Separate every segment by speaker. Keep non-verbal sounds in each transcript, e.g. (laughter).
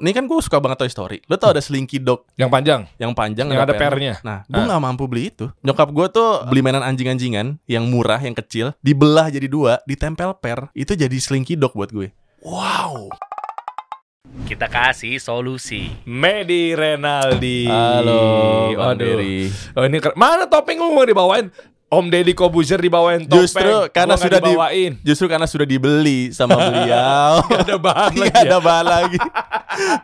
Speaker 1: Ini kan gue suka banget Toy Story. Lo tau ada Slinky Dog
Speaker 2: Yang panjang.
Speaker 1: yang panjang
Speaker 2: Yang ada
Speaker 1: per-
Speaker 2: pernya. Ah.
Speaker 1: Nah, gue nggak mampu beli itu. Nyokap gue tuh beli mainan anjing-anjingan yang murah, yang kecil, dibelah jadi dua, ditempel per, itu jadi Slinky Dog buat gue. Wow.
Speaker 3: Kita kasih solusi.
Speaker 2: Medi Renaldi.
Speaker 1: Bang
Speaker 2: Waduh.
Speaker 1: Dery.
Speaker 2: Oh, ini keren. Mana topeng lu mau dibawain? Om Deddy Kobuzer dibawain topeng.
Speaker 1: Justru karena
Speaker 2: Gua nggak
Speaker 1: sudah di-
Speaker 2: dibawain.
Speaker 1: Justru karena sudah dibeli sama
Speaker 2: (laughs)
Speaker 1: beliau.
Speaker 2: Gak
Speaker 1: (laughs)
Speaker 2: ada bahan
Speaker 1: Nggak
Speaker 2: lagi. ya.
Speaker 1: Iya, ada bahan lagi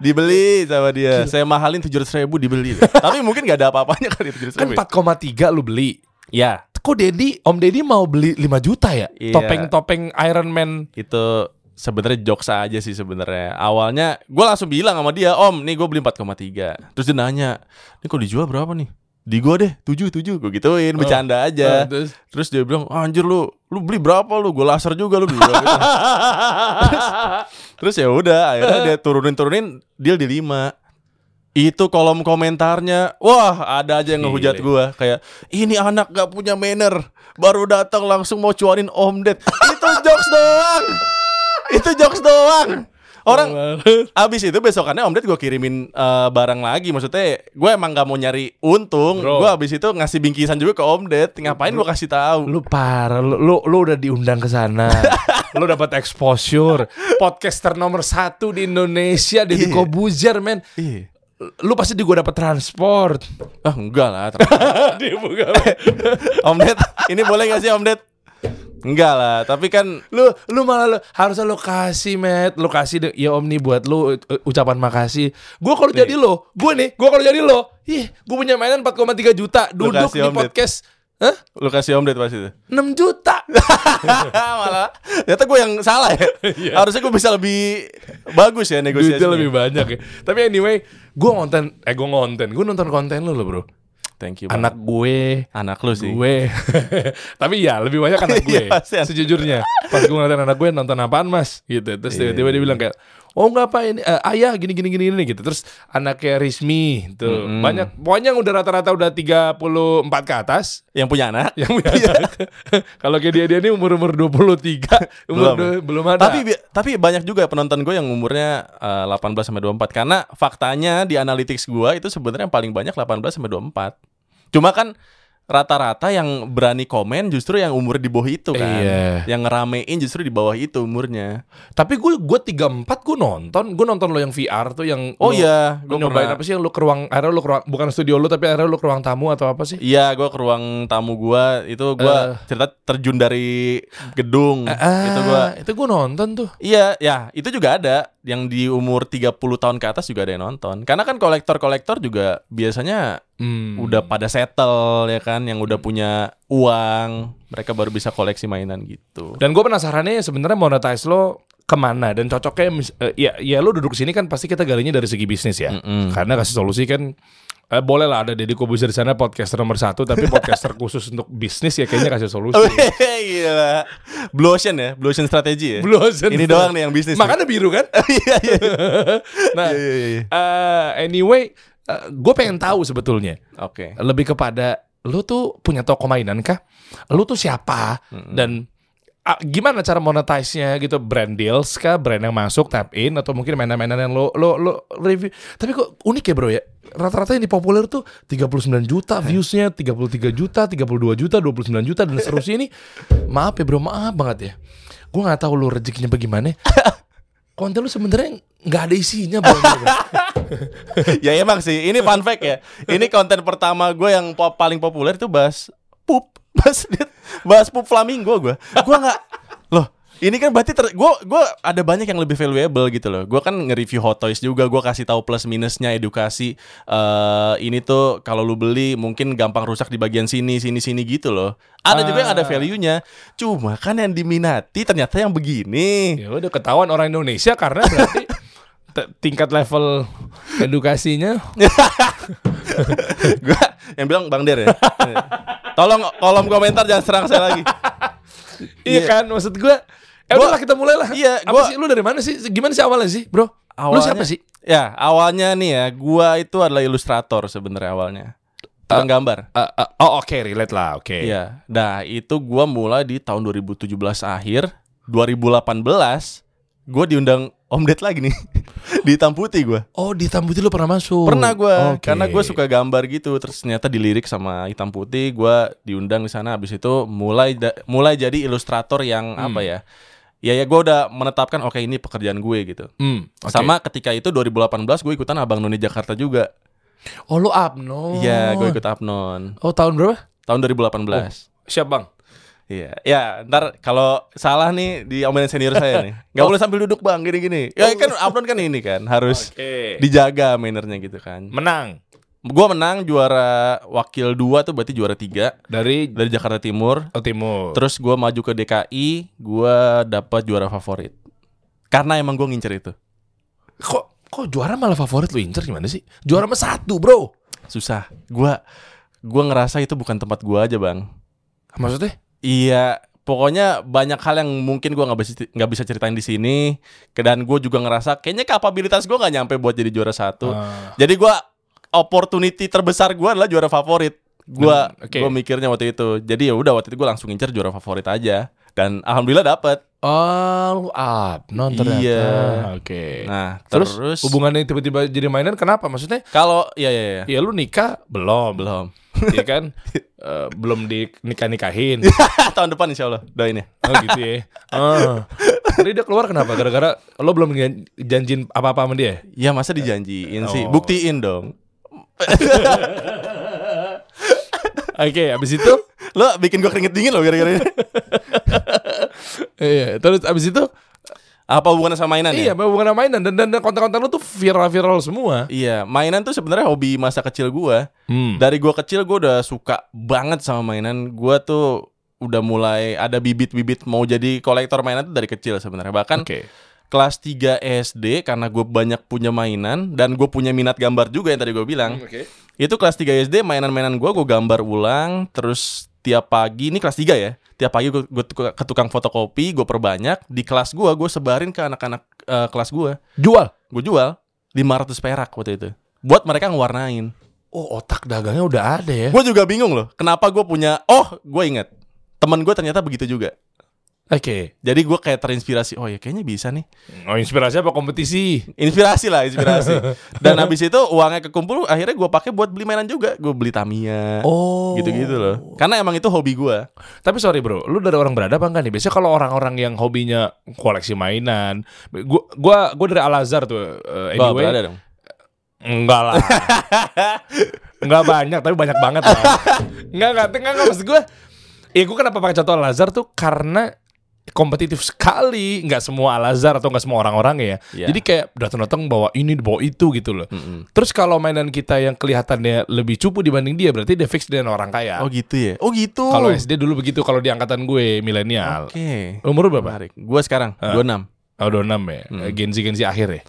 Speaker 1: Dibeli sama dia Saya mahalin 700 ribu dibeli deh. Tapi mungkin gak ada apa-apanya kali 700
Speaker 2: Kan
Speaker 1: ribu
Speaker 2: 4,3 lu beli.
Speaker 1: Ya
Speaker 2: Kok Deddy, Om Deddy mau beli 5 juta ya?
Speaker 1: Iya.
Speaker 2: Topeng-topeng Iron Man.
Speaker 1: Itu sebenarnya jokes aja sih sebenarnya Awalnya gue langsung bilang sama dia Om nih gue beli 4,3 Terus dia nanya Ini kok dijual berapa nih? Di gue deh 7, 7 Gue gituin bercanda
Speaker 2: Eh,
Speaker 1: aja
Speaker 2: terus-
Speaker 1: Terus dia bilang "Ah, Anjir lu Lu beli berapa lu? Gue laser juga lu beli berapa gitu. Terus ya udah akhirnya dia turunin-turunin deal di 5. Itu kolom komentarnya, wah ada aja yang ngehujat
Speaker 2: Gile.
Speaker 1: gua kayak ini anak gak punya manner, baru datang langsung mau cuanin Om Ded. Itu jokes doang. Itu jokes doang. Orang abis itu besokannya Om Ded gue kirimin eh, barang lagi Maksudnya gue emang gak mau nyari untung
Speaker 2: Bro.
Speaker 1: Gue abis itu ngasih bingkisan juga ke Om Ded Ngapain gue kasih tahu
Speaker 2: lu parah lu lu, lu udah diundang ke
Speaker 1: (laughs)
Speaker 2: sana lu dapat exposure podcaster nomor satu di Indonesia Deddy
Speaker 1: Iya.
Speaker 2: Kobuzer men
Speaker 1: Ih,
Speaker 2: lu pasti di gua dapat transport
Speaker 1: ah enggak lah ternyata.
Speaker 2: (laughs)
Speaker 1: (laughs)
Speaker 2: Dia bukan.
Speaker 1: Om Ded, ini boleh gak sih Om Ded? Enggak lah, tapi kan
Speaker 2: lu lu malah lu, harusnya lu kasih Matt lu kasih de- ya om nih buat lu u- ucapan makasih gua
Speaker 1: Iya.
Speaker 2: kalau jadi lo gua nih gua kalau jadi lo ih gua punya mainan 4,3 juta
Speaker 1: Lu
Speaker 2: duduk
Speaker 1: kasih
Speaker 2: di
Speaker 1: Om Ded.
Speaker 2: podcast Hah?
Speaker 1: lu kasih Om Ded pasti
Speaker 2: (laughs)
Speaker 1: itu.
Speaker 2: 6
Speaker 1: (laughs)
Speaker 2: juta
Speaker 1: Malah, ternyata gue yang salah ya. Harusnya gue bisa lebih bagus ya negosiasinya.
Speaker 2: Duitnya Iya. lebih banyak ya Tapi anyway Gue ngonten Eh gue ngonten Gue nonton konten lu loh bro
Speaker 1: Thank you. Bang.
Speaker 2: Anak gue
Speaker 1: anak lu sih.
Speaker 2: gue (laughs) tapi ya lebih banyak (laughs) anak
Speaker 1: Iya,
Speaker 2: gue
Speaker 1: pasti anak-
Speaker 2: sejujurnya pas gue ngeliatin anak gue nonton apaan mas gitu terus tiba-tiba dia bilang kayak oh nggak apa ini eh, ayah gini gini gini gini gitu terus anaknya Rismi tuh banyak pokoknya udah rata-rata udah 34 ke atas (laughs)
Speaker 1: Yang punya anak.
Speaker 2: yang biasa kalau kayak dia dia ini umur umur 23 umur
Speaker 1: Belum.
Speaker 2: dua- (laughs) belum ada
Speaker 1: Tapi bi- tapi banyak juga penonton gue yang umurnya eh, 18 sampai 24 karena faktanya di analytics gue itu sebenarnya yang paling banyak 18 sampai 24. Cuma kan rata-rata yang berani komen justru yang umur di bawah itu kan.
Speaker 2: Iya.
Speaker 1: Yang ngeramein justru di bawah itu umurnya.
Speaker 2: tapi gue gue 34 gue nonton gue nonton lo yang VR tuh yang
Speaker 1: Oh
Speaker 2: lu-
Speaker 1: iya, gue
Speaker 2: lu nyobain apa sih yang lu ke ruang akhirnya lu ke ruang bukan studio lu tapi akhirnya lu ke ruang tamu atau apa sih
Speaker 1: Iya, gue ke ruang tamu gua itu gua
Speaker 2: Eh.
Speaker 1: cerita terjun dari gedung Ah. itu gua.
Speaker 2: itu gue nonton tuh
Speaker 1: Iya, ya, itu juga ada yang di umur 30 tahun ke atas juga ada yang nonton. Karena kan kolektor-kolektor juga biasanya
Speaker 2: Hmm.
Speaker 1: Hmm. udah pada settle ya kan, yang udah punya uang, mereka baru bisa koleksi mainan (laughs) gitu.
Speaker 2: dan gue penasarannya sebenarnya monetize lo kemana dan cocoknya mis- eh, ya ya lo duduk sini kan pasti kita galinya dari segi bisnis ya
Speaker 1: Mm-mm.
Speaker 2: karena kasih solusi kan eh, boleh lah ada Deddy Kobuzer di sana podcaster nomor satu tapi podcaster khusus untuk bisnis ya kayaknya kasih
Speaker 1: Oh,
Speaker 2: solusi
Speaker 1: iya. Gila. Blue Iya. Ocean ya, Blue Ocean strategi ya.
Speaker 2: Blosen.
Speaker 1: Ini doang nih yang bisnis. nih.
Speaker 2: makanya biru kan
Speaker 1: (laughs) Iya, iya,
Speaker 2: nah
Speaker 1: iya, iya, iya.
Speaker 2: eh, anyway gue pengen tahu sebetulnya
Speaker 1: Oke.
Speaker 2: lebih kepada lu tuh punya toko mainan kah? Lu tuh siapa? Dan ah, gimana cara monetize-nya gitu? Brand deals kah? Brand yang masuk tap in atau mungkin mainan-mainan yang lu lu lu review. Tapi kok unik ya, Bro ya? Rata-rata yang dipopuler tuh 39 juta views-nya, 33 juta, 32 juta, 29 juta dan seterusnya ini. Maaf ya, Bro, maaf banget ya. Gua nggak tahu lu rezekinya bagaimana. Konten lu sebenarnya nggak ada isinya, Bro.
Speaker 1: (laughs) ya emang sih ini fun fact ya ini konten pertama gue yang po- paling populer itu bahas pup (laughs) bahas bahas pup flamingo gue gue nggak loh ini kan berarti ter- gue gua ada banyak yang lebih valuable gitu loh gue kan nge-review hot toys juga gue kasih tahu plus minusnya edukasi eh ini tuh kalau lu beli mungkin gampang rusak di bagian sini sini sini gitu loh ada juga yang ada value-nya cuma kan yang diminati ternyata yang begini
Speaker 2: Ya udah ketahuan orang Indonesia karena berarti (laughs) te- tingkat level edukasinya
Speaker 1: Gua yang bilang Bang Der ya. Tolong kolom komentar jangan serang saya lagi.
Speaker 2: iya kan maksud gua eh
Speaker 1: Gua-
Speaker 2: udahlah kita mulai lah
Speaker 1: iya,
Speaker 2: apa
Speaker 1: gua-
Speaker 2: sih lu dari mana sih gimana sih awalnya sih bro lu siapa sih
Speaker 1: Ya, awalnya nih ya, gua itu adalah ilustrator sebenarnya awalnya. Tukang gambar.
Speaker 2: Eh, eh, oh oke relate lah oke
Speaker 1: Iya. Nah, itu gua mulai di tahun 2017 akhir, 2018 gua diundang Omdet lagi nih (laughs) di hitam putih gue.
Speaker 2: Oh di hitam putih lu pernah masuk?
Speaker 1: Pernah gue,
Speaker 2: Uh, Oke.
Speaker 1: karena gue suka gambar gitu. Terus ternyata dilirik sama hitam putih, gue diundang di sana. Habis itu mulai da- mulai jadi ilustrator yang
Speaker 2: Hmm.
Speaker 1: apa ya? Ya ya gue udah menetapkan oke ini pekerjaan gue gitu.
Speaker 2: Hmm, oke.
Speaker 1: Sama ketika itu 2018 gue ikutan Abang Noni Jakarta juga.
Speaker 2: Oh lu abnon.
Speaker 1: Iya, gue ikut Apnon
Speaker 2: Oh tahun berapa?
Speaker 1: tahun 2018.
Speaker 2: Siap bang.
Speaker 1: Iya, ya ntar kalau salah nih diomelin senior saya nih. Gak boleh sambil duduk bang, gini-gini. Ya kan Apnon kan ini kan
Speaker 2: Oh,
Speaker 1: harus dijaga mannernya gitu kan.
Speaker 2: Menang
Speaker 1: Gua menang juara wakil dua tuh berarti juara tiga
Speaker 2: dari
Speaker 1: dari Jakarta Timur.
Speaker 2: Jawa Timur.
Speaker 1: Terus gua maju ke DKI, gua dapat juara favorit. Karena emang gua ngincer itu.
Speaker 2: kok kok juara malah favorit lu incer gimana sih? Juara mah satu bro.
Speaker 1: Susah. Gua gua ngerasa itu bukan tempat gua aja, Bang.
Speaker 2: Maksudnya?
Speaker 1: Iya, pokoknya banyak hal yang mungkin gua nggak bisa nggak bisa ceritain di sini. Dan gue juga ngerasa kayaknya kapabilitas gua nggak nyampe buat jadi juara satu.
Speaker 2: Ah.
Speaker 1: Jadi gua opportunity terbesar gua adalah juara favorit. Gua
Speaker 2: Hmm, oke.
Speaker 1: gua mikirnya waktu itu. Jadi ya udah waktu itu gua langsung incer juara favorit aja dan alhamdulillah dapet.
Speaker 2: Oh lu abnon ternyata.
Speaker 1: Iya.
Speaker 2: Oke.
Speaker 1: Nah,
Speaker 2: Terus,
Speaker 1: terus,
Speaker 2: hubungannya tiba-tiba jadi mainan kenapa? Maksudnya
Speaker 1: kalau ya ya ya.
Speaker 2: ya lu nikah belum
Speaker 1: (laughs) Belum.
Speaker 2: ya kan Eh, belum di nikah
Speaker 1: (laughs)
Speaker 2: nikahin
Speaker 1: Ah, Tahun depan insya Allah doain ya.
Speaker 2: oh gitu ya oh. Tadi dia keluar kenapa gara-gara lo belum jan- janjin apa-apa sama dia
Speaker 1: Ya masa dijanjiin sih,
Speaker 2: Oh.
Speaker 1: buktiin dong.
Speaker 2: oke abis itu
Speaker 1: Lo bikin gua keringet dingin loh
Speaker 2: (laughs)
Speaker 1: gara-gara ini.
Speaker 2: iya terus abis itu
Speaker 1: Apa hubungannya sama mainan ya?
Speaker 2: iya bukan mainan dan dan, dan konten-konten lo tuh viral-viral semua
Speaker 1: Iya, mainan tuh sebenarnya hobi masa kecil gua.
Speaker 2: hmm.
Speaker 1: Dari gua kecil gua udah suka banget sama mainan. Gua tuh udah mulai ada bibit-bibit mau jadi kolektor mainan tuh dari kecil sebenarnya. Bahkan
Speaker 2: oke
Speaker 1: kelas 3 SD karena gue banyak punya mainan dan gue punya minat gambar juga yang tadi gue bilang.
Speaker 2: oke
Speaker 1: Itu kelas 3 SD mainan-mainan gue gue gambar ulang terus tiap pagi ini kelas 3 ya. Tiap pagi gue ke tukang fotokopi, gue perbanyak di kelas gue gue sebarin ke anak-anak eh, kelas gue.
Speaker 2: jual
Speaker 1: Gue jual 500 perak waktu itu. Buat mereka ngewarnain.
Speaker 2: oh otak dagangnya udah ada ya
Speaker 1: Gue juga bingung loh, kenapa gue punya oh, gue inget. Temen gue ternyata begitu juga.
Speaker 2: oke
Speaker 1: Jadi gue kayak terinspirasi, oh ya kayaknya bisa nih.
Speaker 2: oh inspirasi apa kompetisi
Speaker 1: inspirasi lah inspirasi dan habis itu uangnya kekumpul akhirnya gue pakai buat beli mainan juga gue beli Tamiya
Speaker 2: oh
Speaker 1: gitu-gitu loh karena emang itu hobi gue
Speaker 2: Tapi sorry bro, lu dari orang berada apa enggak nih? Biasanya kalau orang-orang yang hobinya koleksi mainan, gua gua gua dari Al Azhar tuh. eh, anyway,
Speaker 1: dong
Speaker 2: enggak lah. (laughs) enggak banyak, tapi banyak banget lah. enggak, enggak, enggak, enggak maksud gua. Ya gua kenapa pakai contoh Al Azhar tuh karena kompetitif sekali, nggak semua Al Azhar atau nggak semua orang-orang ya.
Speaker 1: Iya. Hmm.
Speaker 2: Jadi kayak datang-datang bawa ini, bawa itu gitu loh.
Speaker 1: Mm-mm.
Speaker 2: Terus kalau mainan kita yang kelihatannya lebih cupu dibanding dia, berarti dia fix dengan orang kaya.
Speaker 1: oh gitu ya oh gitu
Speaker 2: Kalau
Speaker 1: oke
Speaker 2: SD dulu begitu kalau di angkatan gue milenial. Umur lu berapa?
Speaker 1: menarik gue sekarang
Speaker 2: Ah.
Speaker 1: 26
Speaker 2: Oh, 26 ya.
Speaker 1: Hmm.
Speaker 2: Gen Z Gen Z akhir ya.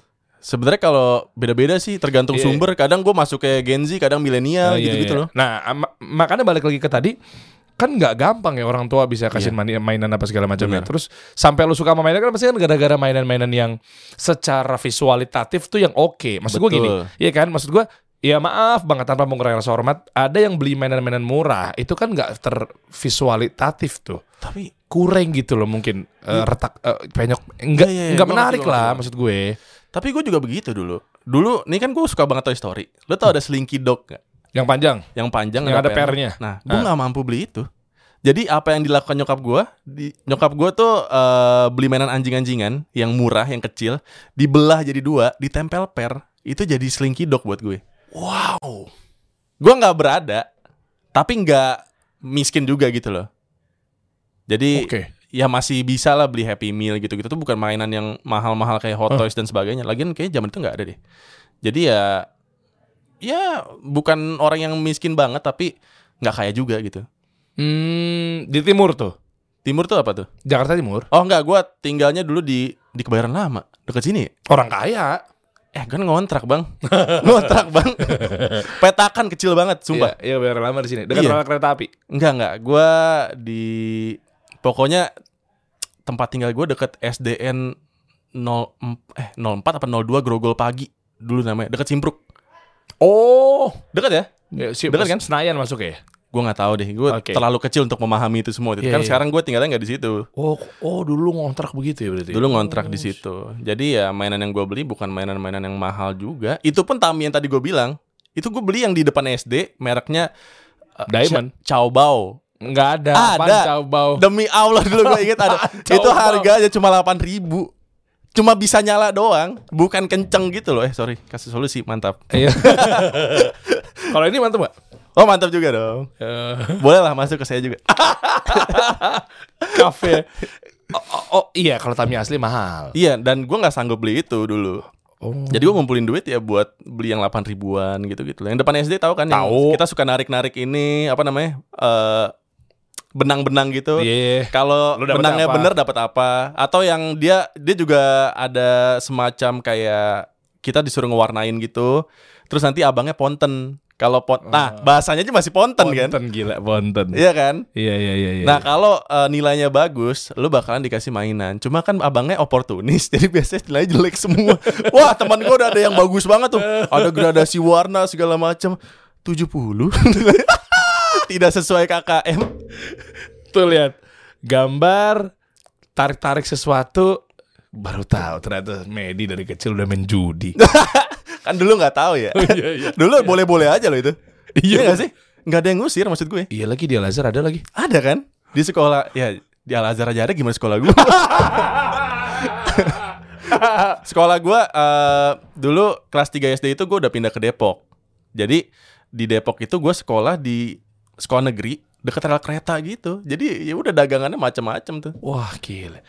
Speaker 1: sebenarnya kalau beda-beda sih tergantung
Speaker 2: Iya.
Speaker 1: sumber kadang gue masuk ke Gen Z kadang milenial
Speaker 2: Oh, iya,
Speaker 1: Ya, gitu-gitu
Speaker 2: iya.
Speaker 1: loh
Speaker 2: Nah, ama- makanya balik lagi ke tadi kan nggak gampang ya orang tua bisa kasih mani- mainan apa segala macam ya.
Speaker 1: Iya. Benar.
Speaker 2: Terus sampai lu suka sama mainan kan pasti kan gara-gara mainan-mainan yang secara visualitatif tuh yang oke. Maksud gua
Speaker 1: Betul.
Speaker 2: gini, iya kan? Maksud gua Ya maaf banget tanpa mengurangi rasa hormat, ada yang beli mainan-mainan murah itu kan nggak tervisualitatif tuh,
Speaker 1: tapi
Speaker 2: kurang gitu loh mungkin eh, retak eh, penyok nggak
Speaker 1: Iya, iya, iya.
Speaker 2: nggak
Speaker 1: Gua ngerti,
Speaker 2: menarik
Speaker 1: gua
Speaker 2: lah
Speaker 1: ngerti.
Speaker 2: maksud gue.
Speaker 1: tapi gue juga begitu dulu dulu nih kan gue suka banget Toy Story lo tau ada Slinky Dog nggak?
Speaker 2: Yang panjang,
Speaker 1: yang panjang
Speaker 2: yang ada
Speaker 1: pernya.
Speaker 2: pernya.
Speaker 1: Nah, gue
Speaker 2: Ah.
Speaker 1: nggak mampu beli itu. Jadi apa yang dilakukan nyokap gue? Di, nyokap gue tuh eh, beli mainan anjing-anjingan yang murah, yang kecil, dibelah jadi dua, ditempel per, itu jadi slinky dog buat gue.
Speaker 2: Wow.
Speaker 1: Gue nggak berada, tapi nggak miskin juga gitu loh. Jadi
Speaker 2: Oke.
Speaker 1: ya masih bisa lah beli Happy Meal gitu-gitu tuh bukan mainan yang mahal-mahal kayak Hot Toys dan sebagainya. Lagian kayak zaman itu nggak ada deh. Jadi ya ya bukan orang yang miskin banget tapi nggak kaya juga gitu.
Speaker 2: Hmm, di timur tuh.
Speaker 1: Timur tuh apa tuh?
Speaker 2: Jakarta Timur.
Speaker 1: Oh nggak, gua tinggalnya dulu di di Kebayoran Lama dekat sini. ya?
Speaker 2: Orang kaya.
Speaker 1: Eh kan ngontrak bang, ngontrak bang. Petakan kecil banget, sumpah.
Speaker 2: Iya, iya biar lama di sini. Dekat
Speaker 1: Iya.
Speaker 2: rel kereta api.
Speaker 1: Enggak enggak, gua di pokoknya tempat tinggal gua deket SDN 0 eh 04 apa 02 Grogol pagi dulu namanya deket Simpruk.
Speaker 2: Oh.
Speaker 1: Deket ya?
Speaker 2: Ya, si,
Speaker 1: Dekat kan?
Speaker 2: Senayan masuk ya?
Speaker 1: Gue nggak tahu deh, gue
Speaker 2: Oke.
Speaker 1: terlalu kecil untuk memahami itu semua.
Speaker 2: Iya,
Speaker 1: kan
Speaker 2: iya.
Speaker 1: sekarang gue tinggalnya nggak di situ.
Speaker 2: Oh, oh dulu ngontrak begitu ya berarti.
Speaker 1: Dulu ngontrak di situ. Jadi ya mainan yang gue beli bukan mainan-mainan yang mahal juga. Itu pun Tami yang tadi gue bilang, itu gue beli yang di depan SD, mereknya uh,
Speaker 2: Eh, Diamond.
Speaker 1: Cha- Chaobao.
Speaker 2: Nggak ada.
Speaker 1: Ada.
Speaker 2: Apaan Caobao?
Speaker 1: Demi Allah dulu gue
Speaker 2: (laughs)
Speaker 1: inget ada.
Speaker 2: Chaobao.
Speaker 1: itu harganya cuma 8 ribu. Cuma bisa nyala doang, bukan kenceng gitu loh. Eh sorry, kasih solusi mantap.
Speaker 2: Iya. (laughs) Kalau ini mantep gak?
Speaker 1: Oh mantap juga dong. Boleh lah masuk ke saya juga.
Speaker 2: (laughs) Kafe. Oh, oh, oh, iya kalau Tami asli mahal.
Speaker 1: Iya, dan gue nggak sanggup beli itu dulu.
Speaker 2: Oh.
Speaker 1: Jadi gue ngumpulin duit ya buat beli yang 8 ribuan gitu-gitu. Yang depan SD tahu kan? yang
Speaker 2: Tahu.
Speaker 1: Kita suka narik-narik ini apa namanya? eh benang-benang gitu.
Speaker 2: Iya.
Speaker 1: Kalau
Speaker 2: Lu dapet
Speaker 1: benangnya
Speaker 2: apa?
Speaker 1: bener dapat apa? Atau yang dia dia juga ada semacam kayak kita disuruh ngewarnain gitu. Terus nanti abangnya ponten. Kalau pon, nah
Speaker 2: Oh.
Speaker 1: bahasanya aja masih ponten, kan?
Speaker 2: Bonten gila, Bonten.
Speaker 1: Iya kan?
Speaker 2: Iya iya iya iya.
Speaker 1: Nah kalau eh, nilainya bagus, lu bakalan dikasih mainan. Cuma kan abangnya oportunis, (laughs) jadi biasanya nilai jelek
Speaker 2: (laughs)
Speaker 1: semua. Wah teman gua udah ada yang bagus banget tuh, ada gradasi warna segala macam. 70 (laughs) tidak sesuai KKM.
Speaker 2: tuh lihat gambar tarik-tarik sesuatu baru tahu ternyata Medi dari kecil udah main judi.
Speaker 1: Kan dulu nggak tahu ya.
Speaker 2: Iya iya.
Speaker 1: (laughs) Dulu boleh-boleh aja loh itu.
Speaker 2: Iya.
Speaker 1: nggak sih? Nggak ada yang ngusir maksud gue.
Speaker 2: Iya lagi di Al Azhar ada lagi.
Speaker 1: Ada kan? Di sekolah ya di Al Azhar aja ada gimana sekolah (laughs) gue? sekolah gue eh, dulu kelas 3 SD itu gue udah pindah ke Depok. Jadi di Depok itu gue sekolah di sekolah negeri dekat rel kereta gitu. Jadi ya udah dagangannya macam-macam tuh.
Speaker 2: Wah gila.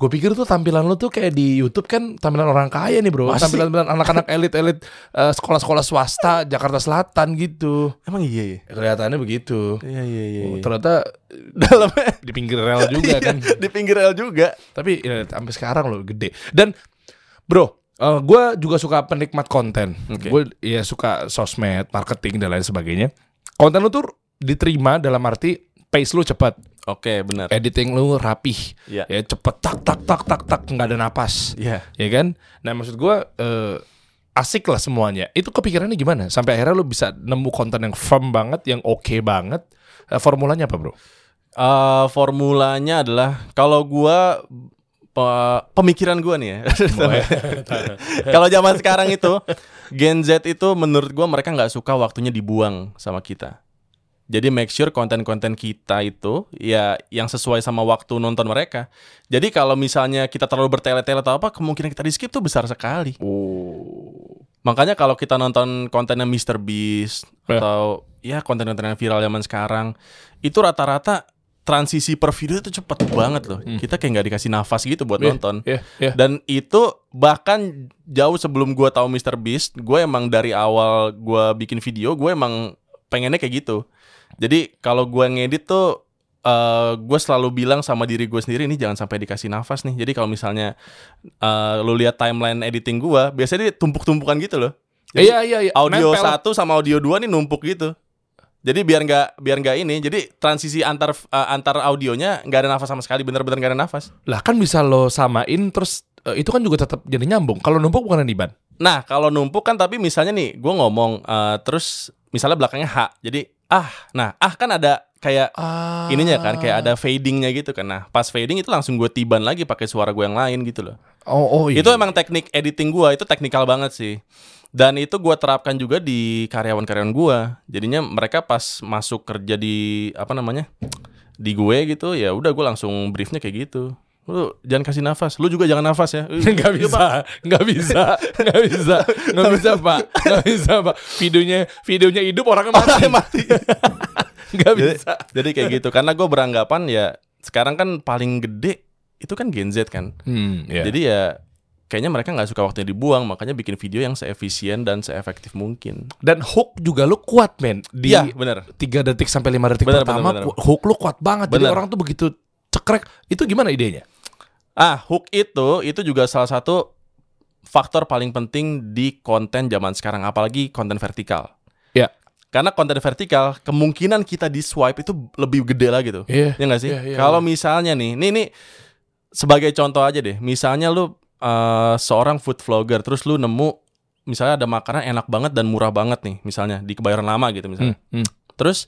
Speaker 2: Gue pikir tuh tampilan lu tuh kayak di YouTube kan tampilan orang kaya nih bro,
Speaker 1: Masih.
Speaker 2: tampilan-tampilan anak-anak elit-elit eh, sekolah-sekolah swasta Jakarta Selatan gitu.
Speaker 1: Emang iya ya?
Speaker 2: Kelihatannya begitu.
Speaker 1: Iya iya iya.
Speaker 2: Oh,
Speaker 1: iya.
Speaker 2: ternyata (laughs)
Speaker 1: Dalamnya
Speaker 2: di pinggir rel (laughs) juga
Speaker 1: iya,
Speaker 2: kan.
Speaker 1: di pinggir rel juga.
Speaker 2: Tapi ya, sampai sekarang loh gede. Dan bro, gue juga suka penikmat konten.
Speaker 1: Oke.
Speaker 2: Gue ya suka sosmed, marketing dan lain sebagainya. Konten lu tuh diterima dalam arti pace lu cepat,
Speaker 1: Oke, benar.
Speaker 2: editing lu rapih,
Speaker 1: Iya.
Speaker 2: ya cepet tak tak tak tak tak nggak ada napas,
Speaker 1: Iya.
Speaker 2: ya kan? Nah maksud gue asik lah semuanya. Itu kepikirannya gimana? Sampai akhirnya lu bisa nemu konten yang firm banget, yang oke banget. Eh, formulanya apa bro?
Speaker 1: Eh, formulanya adalah kalau gua pe- pemikiran gua nih ya. (laughs) kalau zaman sekarang itu Gen Z itu menurut gua mereka nggak suka waktunya dibuang sama kita. Jadi make sure konten-konten kita itu ya yang sesuai sama waktu nonton mereka. Jadi kalau misalnya kita terlalu bertele-tele atau apa kemungkinan kita di skip tuh besar sekali.
Speaker 2: Oh.
Speaker 1: Makanya kalau kita nonton kontennya Mr. Beast
Speaker 2: Ya.
Speaker 1: atau ya konten-konten yang viral zaman sekarang itu rata-rata transisi per video itu cepet banget loh. Kita kayak nggak dikasih nafas gitu buat
Speaker 2: Hmm. Iya,
Speaker 1: nonton.
Speaker 2: Iya, iya.
Speaker 1: Dan itu bahkan jauh sebelum gua tahu Mr. Beast, gue emang dari awal gua bikin video, gue emang pengennya kayak gitu. Jadi kalau gua ngedit tuh eh gue selalu bilang sama diri gue sendiri ini jangan sampai dikasih nafas nih. Jadi kalau misalnya eh, lu lihat timeline editing gua, biasanya dia tumpuk-tumpukan gitu loh. Jadi
Speaker 2: Iya, iya, iya.
Speaker 1: Audio
Speaker 2: Nempel.
Speaker 1: satu sama audio dua nih numpuk gitu. Jadi biar nggak biar nggak ini, jadi transisi antar eh, antar audionya nggak ada nafas sama sekali, bener-bener nggak ada nafas.
Speaker 2: Lah kan bisa lo samain terus eh, itu kan juga tetap jadi nyambung. Kalau numpuk bukan diban.
Speaker 1: Nah, kalau numpuk kan tapi misalnya nih, gue ngomong eh, terus misalnya belakangnya H, jadi ah, nah ah kan ada kayak
Speaker 2: Ah.
Speaker 1: ininya kan, kayak ada fadingnya gitu kan. Nah, pas fading itu langsung gue tiban lagi pakai suara gue yang lain gitu loh.
Speaker 2: Oh, oh iya.
Speaker 1: Itu emang teknik editing gue, itu teknikal banget sih. Dan itu gue terapkan juga di karyawan-karyawan gue. Jadinya mereka pas masuk kerja di apa namanya di gue gitu, ya udah gue langsung briefnya kayak gitu. Lu jangan kasih nafas, lu juga jangan nafas ya.
Speaker 2: (laughs) (laughs) Nggak bisa, nggak bisa, nggak bisa, nggak bisa pak, nggak bisa pak. Videonya, videonya hidup orangnya mati,
Speaker 1: mati.
Speaker 2: (laughs) nggak
Speaker 1: jadi,
Speaker 2: bisa.
Speaker 1: jadi kayak gitu karena gue beranggapan ya sekarang kan paling gede itu kan Gen Z kan
Speaker 2: Hmm, iya.
Speaker 1: jadi ya kayaknya mereka nggak suka waktunya dibuang makanya bikin video yang seefisien dan seefektif mungkin
Speaker 2: dan hook juga lu kuat men di
Speaker 1: iya bener
Speaker 2: tiga detik sampai lima detik
Speaker 1: Benar,
Speaker 2: pertama
Speaker 1: benar, benar.
Speaker 2: ku- hook lu kuat banget. Jadi
Speaker 1: Benar.
Speaker 2: orang tuh begitu cekrek. Itu gimana idenya?
Speaker 1: ah hook itu itu juga salah satu faktor paling penting di konten zaman sekarang apalagi konten vertikal
Speaker 2: Iya.
Speaker 1: karena konten vertikal kemungkinan kita di swipe itu lebih gede lah gitu
Speaker 2: Iya.
Speaker 1: Ya nggak sih?
Speaker 2: Iya, iya,
Speaker 1: Kalau
Speaker 2: iya.
Speaker 1: misalnya nih, nih nih sebagai contoh aja deh. Misalnya lu eh, seorang food vlogger terus lu nemu misalnya ada makanan enak banget dan murah banget nih, misalnya di Kebayoran Lama gitu misalnya.
Speaker 2: Hmm, hmm.
Speaker 1: Terus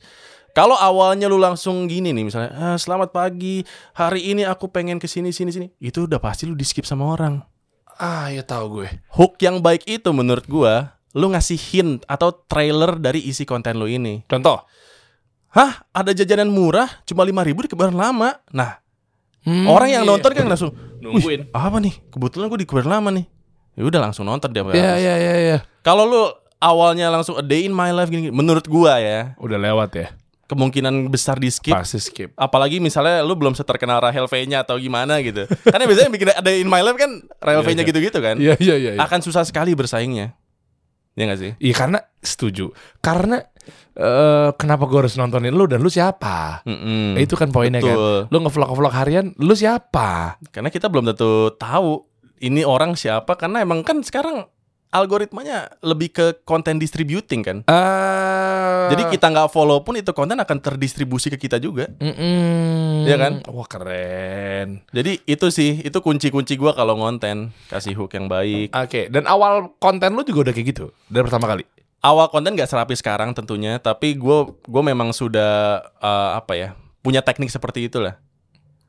Speaker 1: Kalau awalnya lu langsung gini nih misalnya, "Ah, selamat pagi, hari ini aku pengen ke sini sini sini. Itu udah pasti lu di skip sama orang.
Speaker 2: Ah, ya tahu gue.
Speaker 1: Hook yang baik itu menurut gua, lu ngasih hint atau trailer dari isi konten lu ini.
Speaker 2: Contoh.
Speaker 1: Hah, ada jajanan murah cuma 5.000 di kebaran lama. Nah, orang yang nonton kan langsung
Speaker 2: Hmm. Iya. nungguin.
Speaker 1: "Wih, apa nih? Kebetulan gue di kebaran lama nih. Ya udah langsung nonton dia. Pak.
Speaker 2: Ya, ya, ya,
Speaker 1: iya.
Speaker 2: ya.
Speaker 1: Kalau lu awalnya langsung a day in my life gini, gini menurut gua ya,
Speaker 2: Udah lewat ya.
Speaker 1: kemungkinan besar di skip
Speaker 2: Pasti skip.
Speaker 1: apalagi misalnya lu belum seterkenal Rahel V-nya atau gimana gitu. Karena biasanya bikin ada in my life kan Rahel
Speaker 2: Iya,
Speaker 1: V-nya
Speaker 2: iya.
Speaker 1: gitu-gitu kan.
Speaker 2: Iya, iya, iya. iya.
Speaker 1: Akan susah sekali bersaingnya. Ya gak sih?
Speaker 2: Iya karena setuju. Karena eh, kenapa gue harus nontonin lu dan lu siapa?
Speaker 1: Mm-mm.
Speaker 2: Itu kan poinnya kan.
Speaker 1: Betul.
Speaker 2: Lu ngevlog-vlog harian, lu siapa?
Speaker 1: Karena kita belum tentu tahu ini orang siapa karena emang kan sekarang algoritmanya lebih ke konten distributing kan.
Speaker 2: Eh,
Speaker 1: Jadi kita nggak follow pun itu konten akan terdistribusi ke kita juga.
Speaker 2: Mm-mm.
Speaker 1: Iya kan?
Speaker 2: Wah keren.
Speaker 1: Jadi itu sih, itu kunci-kunci gua kalau ngonten, kasih hook yang baik.
Speaker 2: Oke, dan awal konten lu juga udah kayak gitu dari pertama kali.
Speaker 1: awal konten gak serapi sekarang tentunya tapi gue gue memang sudah eh, apa ya punya teknik seperti itulah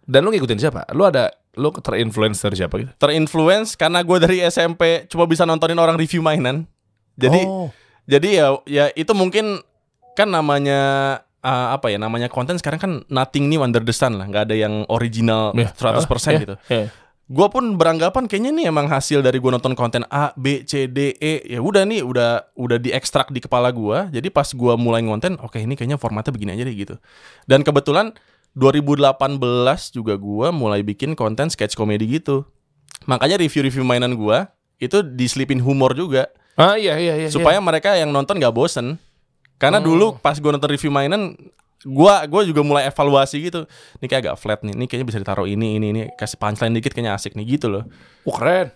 Speaker 2: Dan lu ngikutin siapa? Lu ada lu terinfluence dari siapa gitu?
Speaker 1: terinfluence karena gue dari SMP cuma bisa nontonin orang review mainan jadi
Speaker 2: Oh.
Speaker 1: jadi ya ya itu mungkin kan namanya eh, apa ya namanya konten sekarang kan nothing new under the sun lah nggak ada yang original
Speaker 2: Iya.
Speaker 1: 100%
Speaker 2: Iya.
Speaker 1: gitu gue pun beranggapan kayaknya nih emang hasil dari gue nonton konten A, B, C, D, E ya udah nih udah udah diekstrak di kepala gue jadi pas gue mulai ngonten oke ini kayaknya formatnya begini aja deh gitu dan kebetulan 2018 juga gue mulai bikin konten sketch komedi gitu makanya review-review mainan gue itu diselipin humor juga
Speaker 2: Ah iya iya iya.
Speaker 1: supaya mereka yang nonton gak bosen karena
Speaker 2: Oh.
Speaker 1: dulu pas gue nonton review mainan gua gua juga mulai evaluasi gitu ini kayak agak flat nih ini kayaknya bisa ditaruh ini ini ini kasih punchline dikit kayaknya asik nih gitu loh
Speaker 2: iya. Wah, keren.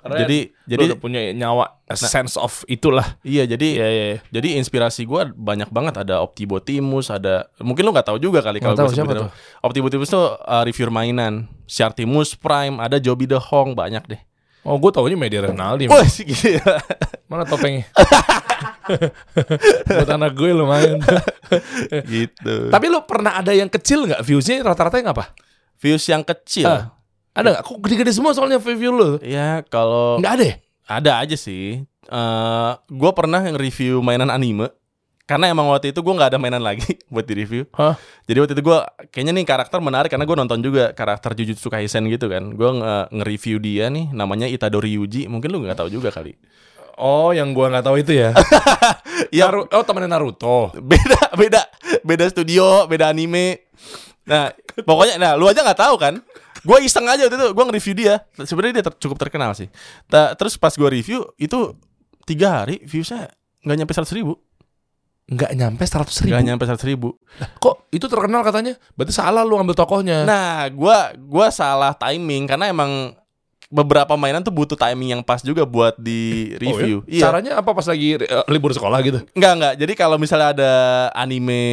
Speaker 2: Keren.
Speaker 1: jadi
Speaker 2: jadi Nah.
Speaker 1: jadi
Speaker 2: udah punya nyawa a sense of itulah.
Speaker 1: iya jadi
Speaker 2: Iya iya. iya.
Speaker 1: jadi inspirasi gua banyak banget ada Optibotimus ada mungkin lu nggak tahu juga kali kalau
Speaker 2: Nggak
Speaker 1: gua
Speaker 2: tahu, siapa
Speaker 1: sebutin apa. Optibotimus tuh uh, review mainan Shartimus Prime ada Joby the Hong banyak deh
Speaker 2: Oh, gue taunya media Renaldi.
Speaker 1: wah sih gitu ya.
Speaker 2: Mana topengnya? (laughs) Buat anak gue lumayan.
Speaker 1: (laughs) gitu
Speaker 2: (laughs) Tapi lu pernah ada yang kecil nggak viewsnya rata-rata yang apa?
Speaker 1: views yang kecil
Speaker 2: Ah, ada nggak? Kok gede-gede semua soalnya view lu?
Speaker 1: ya kalau
Speaker 2: Nggak ada. ya?
Speaker 1: Ada aja sih. Eh, gue pernah nge-review mainan anime karena emang waktu itu gue nggak ada mainan lagi (laughs) buat di-review.
Speaker 2: Hah?
Speaker 1: Jadi waktu itu gue kayaknya nih karakter menarik karena gue nonton juga karakter Jujutsu Kaisen gitu kan. Gue nge- nge-review dia nih namanya Itadori Yuji. Mungkin lu nggak tahu juga kali.
Speaker 2: Oh, yang gua nggak tahu itu (laughs) ya. Naru- oh temennya Naruto.
Speaker 1: beda beda beda studio, beda anime. Nah, pokoknya nah lu aja nggak tahu kan? Gue iseng aja waktu itu gue nge-review dia. Sebenarnya dia ter- cukup terkenal sih. Ta- terus pas gue review itu tiga hari viewsnya nggak nyampe seratus ribu.
Speaker 2: Nggak nyampe 100 ribu.
Speaker 1: Gak nyampe seratus ribu.
Speaker 2: Kok itu terkenal katanya? Berarti salah lu ambil tokohnya.
Speaker 1: Nah, gua gua salah timing karena emang beberapa mainan tuh butuh timing yang pas juga buat di
Speaker 2: Oh,
Speaker 1: review.
Speaker 2: ya? Caranya apa pas lagi eh, libur sekolah gitu?
Speaker 1: Enggak enggak. Jadi kalau misalnya ada anime